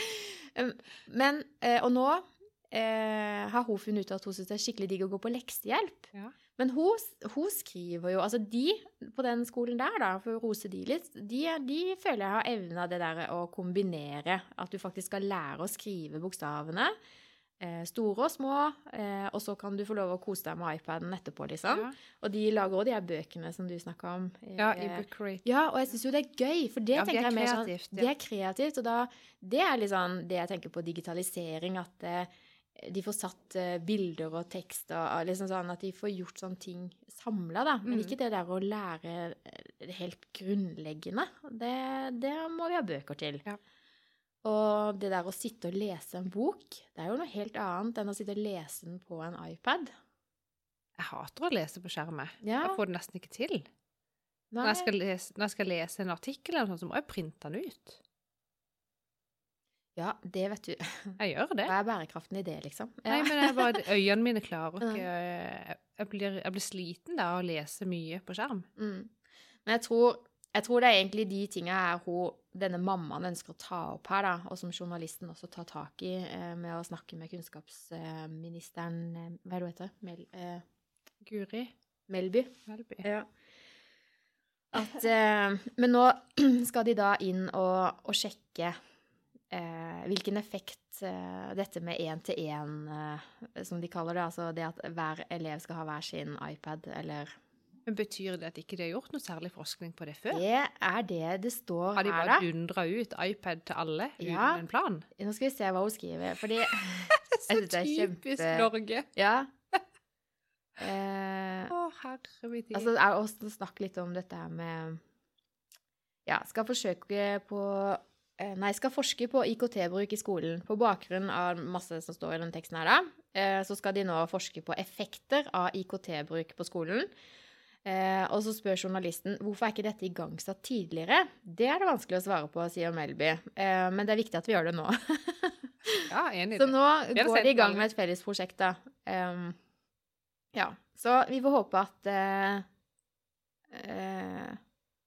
Speaker 2: Um, Men, eh, og nå eh, har hun funnet ut at hun syns det er skikkelig digg å gå på leksehjelp.
Speaker 1: Ja.
Speaker 2: Men hun, hun skriver jo Altså, de på den skolen der, da, for å rose de litt, de, de føler jeg har evna det der å kombinere. At du faktisk skal lære å skrive bokstavene. eh, Store og små. eh, Og så kan du få lov å kose deg med iPaden etterpå, liksom.
Speaker 1: Ja.
Speaker 2: Og de lager også de her bøkene som du snakka om.
Speaker 1: ja,
Speaker 2: eh,
Speaker 1: i Book Crate.
Speaker 2: ja, og jeg syns jo det er gøy, for det
Speaker 1: Ja, for det
Speaker 2: tenker
Speaker 1: er
Speaker 2: jeg mer sånn
Speaker 1: kreativt, ja.
Speaker 2: Det er kreativt, og da Det er litt sånn det jeg tenker på digitalisering, at eh, de får satt eh, bilder og tekst og og liksom sånn at de får gjort sånne ting samla, da. Men
Speaker 1: Mm.
Speaker 2: ikke det der å lære eh, helt grunnleggende. Det, det må vi ha bøker til.
Speaker 1: Ja.
Speaker 2: Og det der å sitte og lese en bok, det er jo noe helt annet enn å sitte og lese den på en iPad.
Speaker 1: Jeg hater å lese på skjermen.
Speaker 2: Ja,
Speaker 1: Jeg får det nesten ikke til.
Speaker 2: nei,
Speaker 1: Når jeg skal lese, når jeg skal lese en artikkel, eller noe sånt, så må jeg printe den ut.
Speaker 2: ja, det vet du.
Speaker 1: Jeg gjør det.
Speaker 2: Hva er bærekraften i det, liksom? Ja.
Speaker 1: Nei, men jeg bare, øynene mine klarer
Speaker 2: Nei.
Speaker 1: ikke eh, Jeg blir, jeg blir sliten da av å lese mye på skjerm.
Speaker 2: Mm. Men jeg tror Jeg tror det er egentlig de tinga her hun, denne mammaen ønsker å ta opp her, da, og som journalisten også tar tak i eh, med å snakke med kunnskapsministeren eh, Hva er det hun heter? Mel, eh,
Speaker 1: Guri
Speaker 2: Melby.
Speaker 1: Melby.
Speaker 2: Ja. At, eh, men nå skal de da inn og, og sjekke eh, hvilken effekt eh, dette med én-til-én, eh, som de kaller det, altså det at hver elev skal ha hver sin iPad, eller
Speaker 1: Men betyr det at ikke de har gjort noe særlig forskning på det før?
Speaker 2: Det er det det står
Speaker 1: Har de
Speaker 2: her, da.
Speaker 1: bare dundra ut iPad til alle uten
Speaker 2: Ja.
Speaker 1: en plan?
Speaker 2: Nå skal vi se hva hun skriver, fordi
Speaker 1: Det
Speaker 2: Jeg synes det er kjempe-
Speaker 1: Norge.
Speaker 2: Ja. Eh,
Speaker 1: Å, herre min tid.
Speaker 2: Altså, det er også snakk litt om dette her med Ja, skal forsøke på eh, Nei, skal forske på IKT-bruk i skolen. På bakgrunn av masse som står i den teksten her, da, eh, så skal de nå forske på effekter av IKT-bruk på skolen. Eh, og så spør journalisten hvorfor er ikke dette igangsatt tidligere. Det er det vanskelig å svare på, sier Melby. Eh, men det er viktig at vi gjør det nå.
Speaker 1: ja, enig i
Speaker 2: Så
Speaker 1: det.
Speaker 2: nå
Speaker 1: Vi har
Speaker 2: går
Speaker 1: sett
Speaker 2: de i gang
Speaker 1: alle.
Speaker 2: med et felles prosjekt, da. Ehm, ja. Så vi får håpe at eh, eh,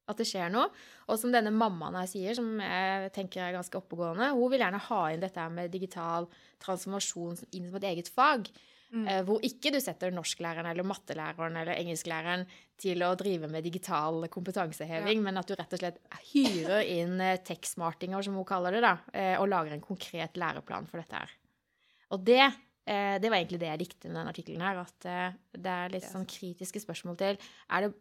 Speaker 2: at det skjer noe. Og som denne mammaen her sier, som jeg tenker er ganske oppegående, hun vil gjerne ha inn dette her med digital transformasjon inn som et eget fag.
Speaker 1: Mm.
Speaker 2: eh, Hvor ikke du setter norsklæreren eller mattelæreren eller engelsklæreren til å drive med digital kompetanseheving, men at du rett og slett hyrer inn eh, techsmartinger, som hun kaller det, da, eh, og lager en konkret læreplan for dette her. Og det, eh, det var egentlig det jeg likte med denne artikkelen her, at eh, det er litt
Speaker 1: Yes.
Speaker 2: sånn kritiske spørsmål til er det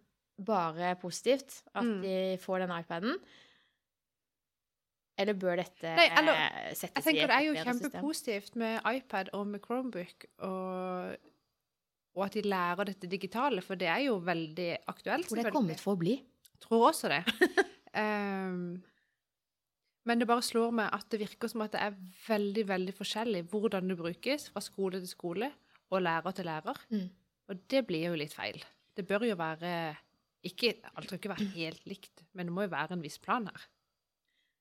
Speaker 2: bare positivt at
Speaker 1: Mm.
Speaker 2: de får denne iPaden, eller bør dette
Speaker 1: Nei, eller-
Speaker 2: eh,
Speaker 1: Jeg
Speaker 2: settes i et
Speaker 1: tenker det er jo
Speaker 2: bedre system?
Speaker 1: kjempepositivt med iPad og med Chromebook, og, og at de lærer dette digitale, for det er jo veldig aktuelt.
Speaker 2: Hvor det er
Speaker 1: selvfølgelig.
Speaker 2: kommet for å bli.
Speaker 1: Tror også det. Ehm, men det bare slår meg at det virker som at det er veldig veldig forskjellig hvordan det brukes fra skole til skole og lærer til lærer.
Speaker 2: Mm.
Speaker 1: Og det blir jo litt feil. Det bør jo være ikke, Alt skal ikke være helt likt, men det må jo være en viss plan her.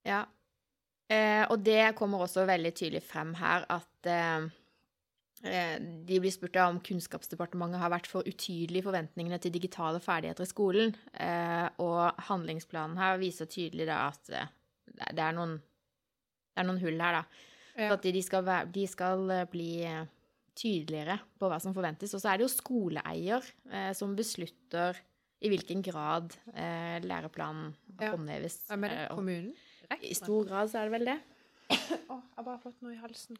Speaker 2: Ja. Eh, og det kommer også veldig tydelig frem her at eh, eh, de blir spurt da om Kunnskapsdepartementet har vært for utydelig i forventningene til digitale ferdigheter i skolen. Eh, og handlingsplanen her viser tydelig da at eh, det det er noen, det er noen hull her, da. Så at de, de, skal være, de skal eh, bli eh, tydeligere på hva som forventes. Og så er det jo skoleeier eh, som beslutter i hvilken grad eh, læreplanen
Speaker 1: Ja.
Speaker 2: håndheves.
Speaker 1: Hvem er det?
Speaker 2: eh, og-
Speaker 1: Kommunen?
Speaker 2: i stor grad så er det vel det.
Speaker 1: Å, jeg har bare fått noe i halsen.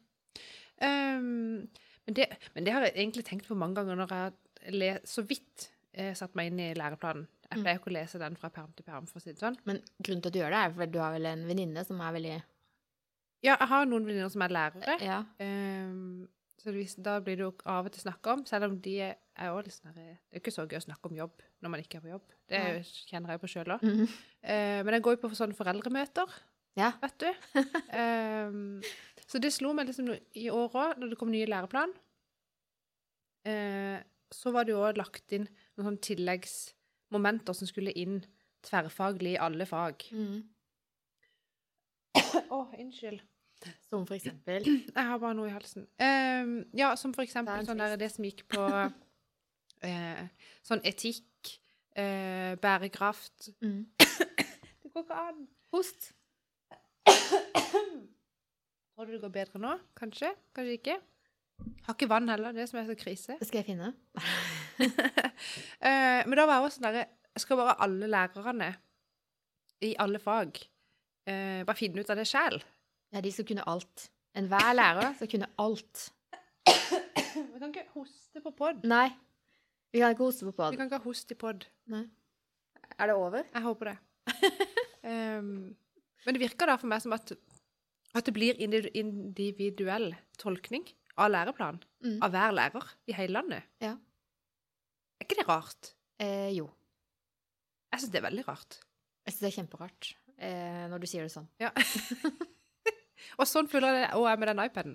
Speaker 1: Ehm, men, det, men det har jeg egentlig tenkt på mange ganger når jeg har le, så vidt eh, satt meg inn i læreplanen. Jeg
Speaker 2: Mm.
Speaker 1: pleier ikke å lese den fra perm til perm, for å si det sånn.
Speaker 2: Men grunnen til at du gjør det, er fordi du har vel en venninne som er veldig
Speaker 1: Ja, jeg har noen venninner som er lærere,
Speaker 2: Ja.
Speaker 1: ehm, så hvis, da blir det jo av og til snakk om, selv om de er er også litt sånn her, Det er ikke så gøy å snakke om jobb når man ikke er på jobb. Det er jo- kjenner jeg jo på sjøl òg.
Speaker 2: Mhm.
Speaker 1: men jeg går jo på sånne foreldremøter.
Speaker 2: Ja.
Speaker 1: vet du. Ehm, så det slo meg liksom nå- i år òg, når det kom nye læreplan. eh, så var det jo òg lagt inn noen sånne tilleggsmomenter som skulle inn tverrfaglig i alle fag.
Speaker 2: Mm.
Speaker 1: Å, unnskyld.
Speaker 2: Som for eksempel
Speaker 1: Jeg har bare noe i halsen. Ehm, ja, som for eksempel
Speaker 2: Det er en
Speaker 1: sånn der, det som gikk på eh, sånn etikk, eh, bærekraft
Speaker 2: Mm.
Speaker 1: Det går ikke an.
Speaker 2: host.
Speaker 1: Tror du det går bedre nå? Kanskje? Kanskje ikke? Har ikke vann heller, det som er så krise.
Speaker 2: Skal jeg finne?
Speaker 1: Eh, men da var jeg også sånn derre Skal bare alle lærerne i alle fag eh, bare finne ut av det sjæl?
Speaker 2: Ja, de skal kunne alt. Enhver lærer skal kunne alt.
Speaker 1: Vi kan ikke hoste på pod.
Speaker 2: Nei. Vi kan ikke hoste på
Speaker 1: Vi
Speaker 2: pod.
Speaker 1: kan ikke ha host i pod.
Speaker 2: Er det over?
Speaker 1: Jeg håper det. Ehm, men det virker da for meg som at, at det blir individu- individuell tolkning av læreplan
Speaker 2: Mm.
Speaker 1: av hver lærer i hele landet.
Speaker 2: Ja.
Speaker 1: Er ikke det rart?
Speaker 2: Eh, jo.
Speaker 1: Jeg syns det er veldig rart.
Speaker 2: Jeg syns det er kjemperart eh, når du sier det sånn.
Speaker 1: Og sånn føler jeg det òg er med den iPaden.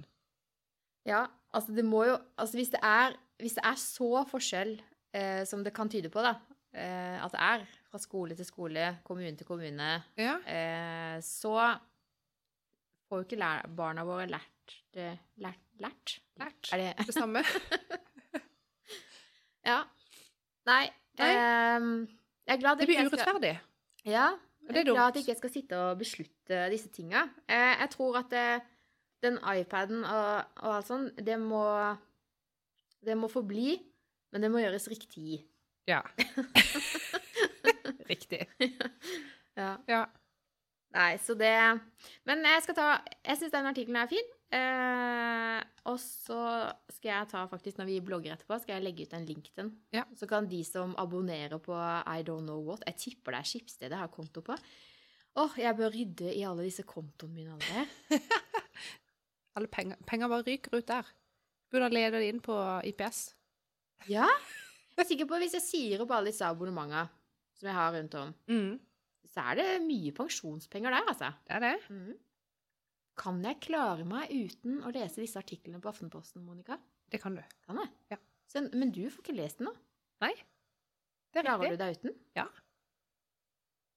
Speaker 2: Ja, altså det må jo altså hvis, det er, hvis det er så forskjell eh, som det kan tyde på, da, eh, at det er fra skole til skole, kommune til kommune,
Speaker 1: Ja.
Speaker 2: eh, så får jo ikke lær barna våre lært det lært, lært?
Speaker 1: Lært.
Speaker 2: Er det
Speaker 1: Det samme.
Speaker 2: Ja. Nei.
Speaker 1: Nei.
Speaker 2: ehm, jeg er glad
Speaker 1: Det blir
Speaker 2: ikke ehm, jeg skal-
Speaker 1: urettferdig.
Speaker 2: Ja.
Speaker 1: Og
Speaker 2: Jeg
Speaker 1: det er
Speaker 2: er glad at
Speaker 1: dumt.
Speaker 2: jeg ikke skal sitte og beslutte disse tinga. Eh, Jeg tror at eh, den iPaden og, og alt sånn, det må Det må forbli, men det må gjøres riktig.
Speaker 1: Ja. Riktig.
Speaker 2: Ja.
Speaker 1: Ja.
Speaker 2: Nei, så det Men jeg skal ta Jeg syns den artikkelen er fin. Eh, og så skal jeg ta faktisk Når vi blogger etterpå, skal jeg legge ut en link til den.
Speaker 1: Ja.
Speaker 2: Så kan de som abonnerer på I don't know what Jeg tipper det er Skipsstedet jeg har konto på. Åh, jeg bør rydde i alle disse kontoene mine allerede.
Speaker 1: Alle penger, penger bare ryker ut der. Burde ha ledet det inn på IPS.
Speaker 2: Ja? Jeg er sikker på hvis jeg sier opp alle disse abonnementene som jeg har rundt om, så er det mye pensjonspenger der, altså.
Speaker 1: Det er det.
Speaker 2: Mhm. Kan jeg klare meg uten å lese disse artiklene på Aftenposten, Monica?
Speaker 1: Det kan du.
Speaker 2: Kan jeg?
Speaker 1: Ja.
Speaker 2: Så, men du får ikke lest den, da?
Speaker 1: Det er
Speaker 2: Klarer du
Speaker 1: riktig.
Speaker 2: deg uten?
Speaker 1: Ja.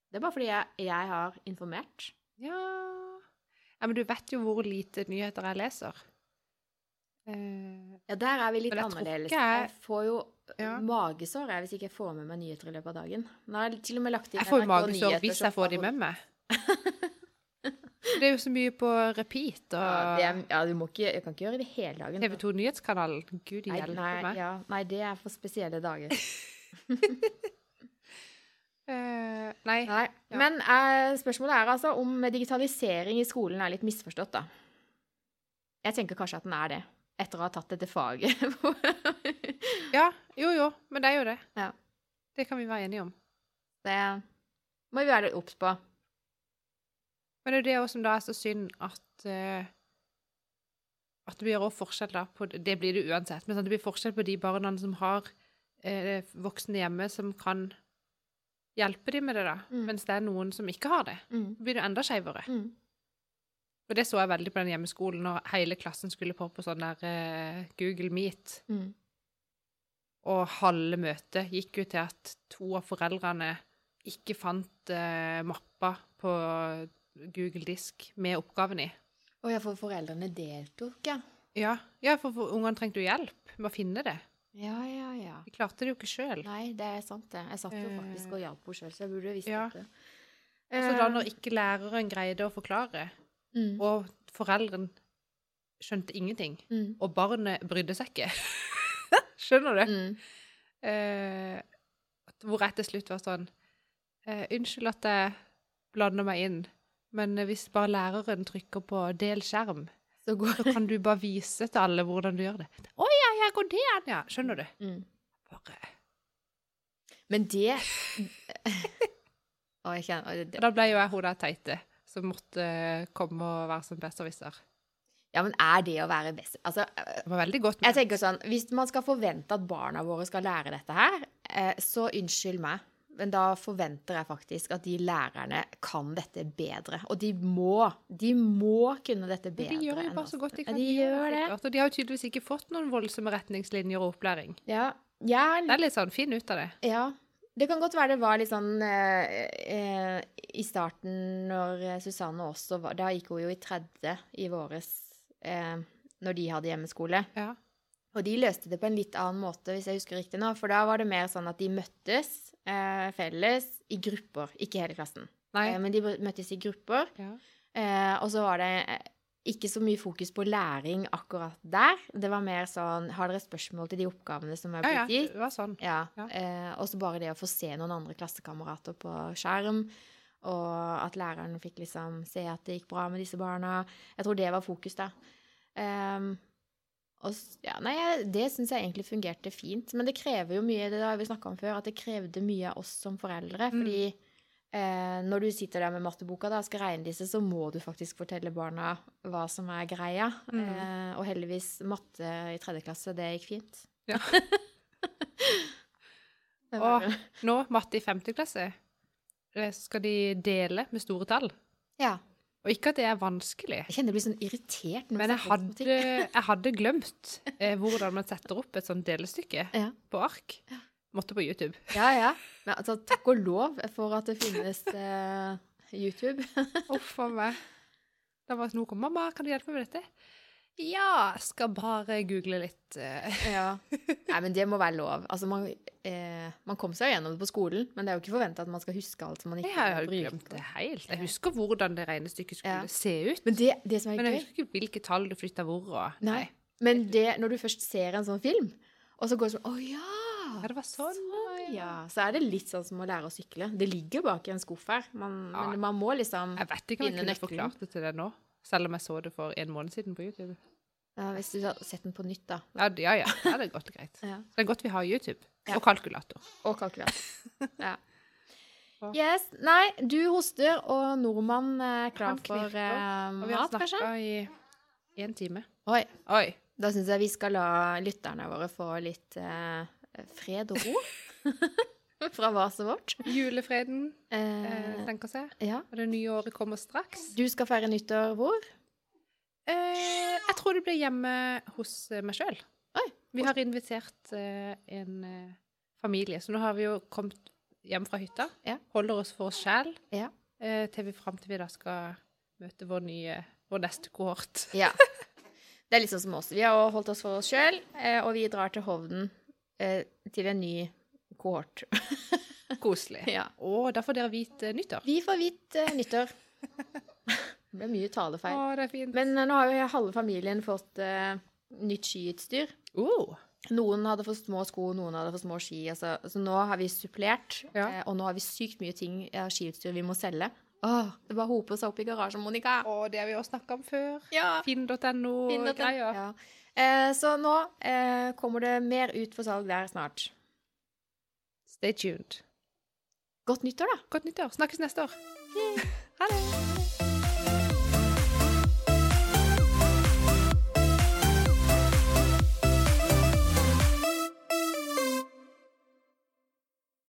Speaker 2: Det er bare fordi jeg, jeg har informert.
Speaker 1: Ja. ja, men du vet jo hvor lite nyheter jeg leser. Eh,
Speaker 2: Ja, der er vi litt
Speaker 1: Men jeg tror
Speaker 2: annerledes.
Speaker 1: ikke jeg-
Speaker 2: Jeg får jo øh,
Speaker 1: Ja.
Speaker 2: magesår jeg, hvis ikke jeg får med meg nyheter i løpet av dagen. Nå har jeg til og med lagt inn
Speaker 1: jeg får jo
Speaker 2: NRK
Speaker 1: magesår
Speaker 2: Nyheter
Speaker 1: hvis
Speaker 2: som
Speaker 1: jeg får de
Speaker 2: favoritt.
Speaker 1: med meg. Det er jo så mye på repeat
Speaker 2: Ja, det er,
Speaker 1: og
Speaker 2: ja, du må ikke Jeg kan ikke gjøre det hele dagen.
Speaker 1: TV 2 Nyhetskanalen. Gud
Speaker 2: Nei,
Speaker 1: hjelpe
Speaker 2: nei,
Speaker 1: meg.
Speaker 2: ja, nei, det er for spesielle dager.
Speaker 1: Eh, nei.
Speaker 2: Nei.
Speaker 1: Ja.
Speaker 2: Men eh, spørsmålet er altså om digitalisering i skolen er litt misforstått, da. Jeg tenker kanskje at den er det, etter å ha tatt dette faget.
Speaker 1: Ja, jo jo, men det er jo det.
Speaker 2: Ja.
Speaker 1: Det kan vi være enige om.
Speaker 2: det må vi være litt obs på.
Speaker 1: Men det er jo det også som da er så synd at eh, At det blir også forskjell da på Det blir det uansett, men sånn, det blir forskjell på de barna som har eh, voksne hjemme som kan hjelpe dem med det, da.
Speaker 2: Mm.
Speaker 1: Mens det er noen som ikke har det.
Speaker 2: Mm.
Speaker 1: Da blir det enda skeivere.
Speaker 2: Mm.
Speaker 1: Og det så jeg veldig på den hjemmeskolen når hele klassen skulle på på sånn der eh, Google Meet,
Speaker 2: Mm.
Speaker 1: og halve møtet gikk jo til at to av foreldrene ikke fant eh, mappa på Google Disk med oppgaven i.
Speaker 2: Og jeg for foreldrene deltok, ja.
Speaker 1: Ja, ja for, for ungene trengte jo hjelp med å finne det.
Speaker 2: Ja, ja, ja.
Speaker 1: De klarte det jo ikke sjøl.
Speaker 2: Nei, det er sant, det. Jeg satt jo faktisk og hjalp henne sjøl, så jeg burde visst
Speaker 1: Ja.
Speaker 2: dette. Eh,
Speaker 1: Så da når ikke læreren greide å forklare,
Speaker 2: mm,
Speaker 1: og foreldren skjønte ingenting,
Speaker 2: mm,
Speaker 1: og barnet brydde seg ikke Skjønner du?
Speaker 2: mm.
Speaker 1: Eh, at- hvor jeg til slutt var sånn eh, Unnskyld at jeg blander meg inn, men hvis bare læreren trykker på 'del skjerm',
Speaker 2: Så går
Speaker 1: så kan du bare vise til alle hvordan du gjør det. 'Å ja, ja, går det an', ja. Skjønner du?
Speaker 2: mm.
Speaker 1: Bare
Speaker 2: Men det Å, jeg kjenner å, det-
Speaker 1: Da ble jo jeg hun der teite som måtte eh, komme og være som besserwisser.
Speaker 2: Ja, men er det å være best Altså,
Speaker 1: Det var veldig godt.
Speaker 2: jeg tenker sånn Hvis man skal forvente at barna våre skal lære dette her, eh, så unnskyld meg. Men da forventer jeg faktisk at de lærerne kan dette bedre. Og de må. De må kunne dette
Speaker 1: men
Speaker 2: bedre.
Speaker 1: de gjør jo
Speaker 2: enn
Speaker 1: bare
Speaker 2: oss.
Speaker 1: så godt de
Speaker 2: Ja,
Speaker 1: kan.
Speaker 2: de gjør det.
Speaker 1: sikkert. Og de har jo tydeligvis ikke fått noen voldsomme retningslinjer og opplæring.
Speaker 2: Ja. Jeg
Speaker 1: Det er litt sånn, finn ut av det.
Speaker 2: Ja. Det kan godt være det var litt sånn eh, eh, i starten når eh, Susanne også var Da gikk hun jo i tredje i våres eh, når de hadde hjemmeskole.
Speaker 1: Ja.
Speaker 2: Og de løste det på en litt annen måte, hvis jeg husker riktig nå. For da var det mer sånn at de møttes eh, felles i grupper. Ikke hele klassen.
Speaker 1: Nei.
Speaker 2: Eh, men de møttes i grupper.
Speaker 1: Ja.
Speaker 2: Eh, og så var det eh, ikke så mye fokus på læring akkurat der. Det var mer sånn Har dere spørsmål til de oppgavene som er
Speaker 1: ja, ja,
Speaker 2: blitt gitt?
Speaker 1: det var sånn.
Speaker 2: Ja.
Speaker 1: Ja.
Speaker 2: Eh, og så bare det å få se noen andre klassekamerater på skjerm, og at læreren fikk liksom se at det gikk bra med disse barna. Jeg tror det var fokus, da. Ehm, og, s- ja, nei, jeg- det syns jeg egentlig fungerte fint. Men det krever jo mye, det har vi snakka om før, at det krevde mye av oss som foreldre. Fordi eh, når du sitter der med matteboka da, og skal regne disse, så må du faktisk fortelle barna hva som er greia. Eh, og heldigvis matte i tredje klasse, det gikk fint.
Speaker 1: Ja.
Speaker 2: Det
Speaker 1: Og
Speaker 2: var-
Speaker 1: nå, matte i femte klasse, eh, så skal de dele med store tall.
Speaker 2: ja.
Speaker 1: Og ikke at det er vanskelig,
Speaker 2: Jeg kjenner jeg blir sånn irritert når
Speaker 1: men jeg
Speaker 2: snakker om
Speaker 1: hadde,
Speaker 2: sånne ting.
Speaker 1: jeg hadde glemt eh, hvordan man setter opp et sånt delestykke
Speaker 2: Ja.
Speaker 1: på ark. Måtte på YouTube.
Speaker 2: Ja, ja. Men altså, takk og lov for at det finnes eh, YouTube.
Speaker 1: Uff a meg. Da var det noe 'Mamma, kan du hjelpe meg med dette?' Ja, skal bare google litt. eh.
Speaker 2: Ja. Nei, men det må være lov. Altså, man, eh, man kom seg jo gjennom det på skolen, men det er jo ikke forventa at man skal huske alt som man
Speaker 1: Jeg
Speaker 2: ikke
Speaker 1: har jo
Speaker 2: bruker.
Speaker 1: glemt det helt. Jeg husker hvordan det regnestykket skulle
Speaker 2: Ja.
Speaker 1: se ut.
Speaker 2: Men det, det som er
Speaker 1: Men jeg
Speaker 2: gøy
Speaker 1: husker ikke hvilke tall du flytta hvor. Og...
Speaker 2: Nei. Men det, når du først ser en sånn film, og så går det sånn Å
Speaker 1: Ja,
Speaker 2: ja!
Speaker 1: det var sånn.
Speaker 2: Sånn, ja. Så er det litt sånn som å lære å sykle. Det ligger jo bak i en skuff her, man,
Speaker 1: Ja.
Speaker 2: men man må liksom
Speaker 1: Jeg vet ikke om jeg
Speaker 2: Finne
Speaker 1: kunne
Speaker 2: nøkkelen.
Speaker 1: forklart det til deg nå. Selv om jeg så det for en måned siden på YouTube.
Speaker 2: ja, Hvis du har sett den på nytt, da.
Speaker 1: Ja, det- ja. ja. ja det er godt og greit.
Speaker 2: Ja.
Speaker 1: Det er godt vi har YouTube.
Speaker 2: Ja.
Speaker 1: Og kalkulator.
Speaker 2: Og kalkulator. Ja.
Speaker 1: Hva?
Speaker 2: Yes. Nei, du hoster, og nordmann er klar
Speaker 1: Han
Speaker 2: for
Speaker 1: knirker,
Speaker 2: eh,
Speaker 1: Og vi har
Speaker 2: mat, kanskje?
Speaker 1: snakka i én time.
Speaker 2: Oi.
Speaker 1: Oi.
Speaker 2: Da syns jeg vi skal la lytterne våre få litt eh, fred og ro fra vaset vårt.
Speaker 1: Julefreden eh,
Speaker 2: Eh,
Speaker 1: tenker seg.
Speaker 2: ja.
Speaker 1: Og det nye året kommer straks.
Speaker 2: Du skal feire nyttår hvor?
Speaker 1: Eh, jeg tror det blir hjemme hos eh, meg sjøl.
Speaker 2: Oi,
Speaker 1: Vi har invitert eh, en eh, familie, så nå har vi jo kommet hjem fra hytta.
Speaker 2: Ja.
Speaker 1: Holder oss for oss sjæl
Speaker 2: Ja.
Speaker 1: eh, til vi fram til vi da skal møte vår nye vår neste kohort.
Speaker 2: Ja. Det er litt sånn som oss. Vi har jo holdt oss for oss sjøl, eh, og vi drar til Hovden eh, til en ny kohort.
Speaker 1: Koselig.
Speaker 2: ja.
Speaker 1: Og da får dere vite nyttår.
Speaker 2: Vi får hvit eh, nyttår. det ble mye
Speaker 1: Å,
Speaker 2: talefeil.
Speaker 1: det er fint.
Speaker 2: Men eh, nå har jo halve familien fått eh, nytt skiutstyr.
Speaker 1: Oh,
Speaker 2: Noen hadde for små sko, noen hadde for små ski. Altså. Så nå har vi supplert,
Speaker 1: Ja.
Speaker 2: eh, og nå har vi sykt mye ting av skiutstyr vi må selge. Åh, det bare hoper seg opp i garasjen, Monica.
Speaker 1: og det har vi også snakka om før.
Speaker 2: Ja,
Speaker 1: Finn.no
Speaker 2: finn
Speaker 1: og
Speaker 2: dette.
Speaker 1: greier.
Speaker 2: Ja. Eh, så nå eh, kommer det mer ut for salg der snart.
Speaker 1: Stay tuned.
Speaker 2: Godt nyttår, da!
Speaker 1: Godt nyttår. Snakkes neste år. Ha det.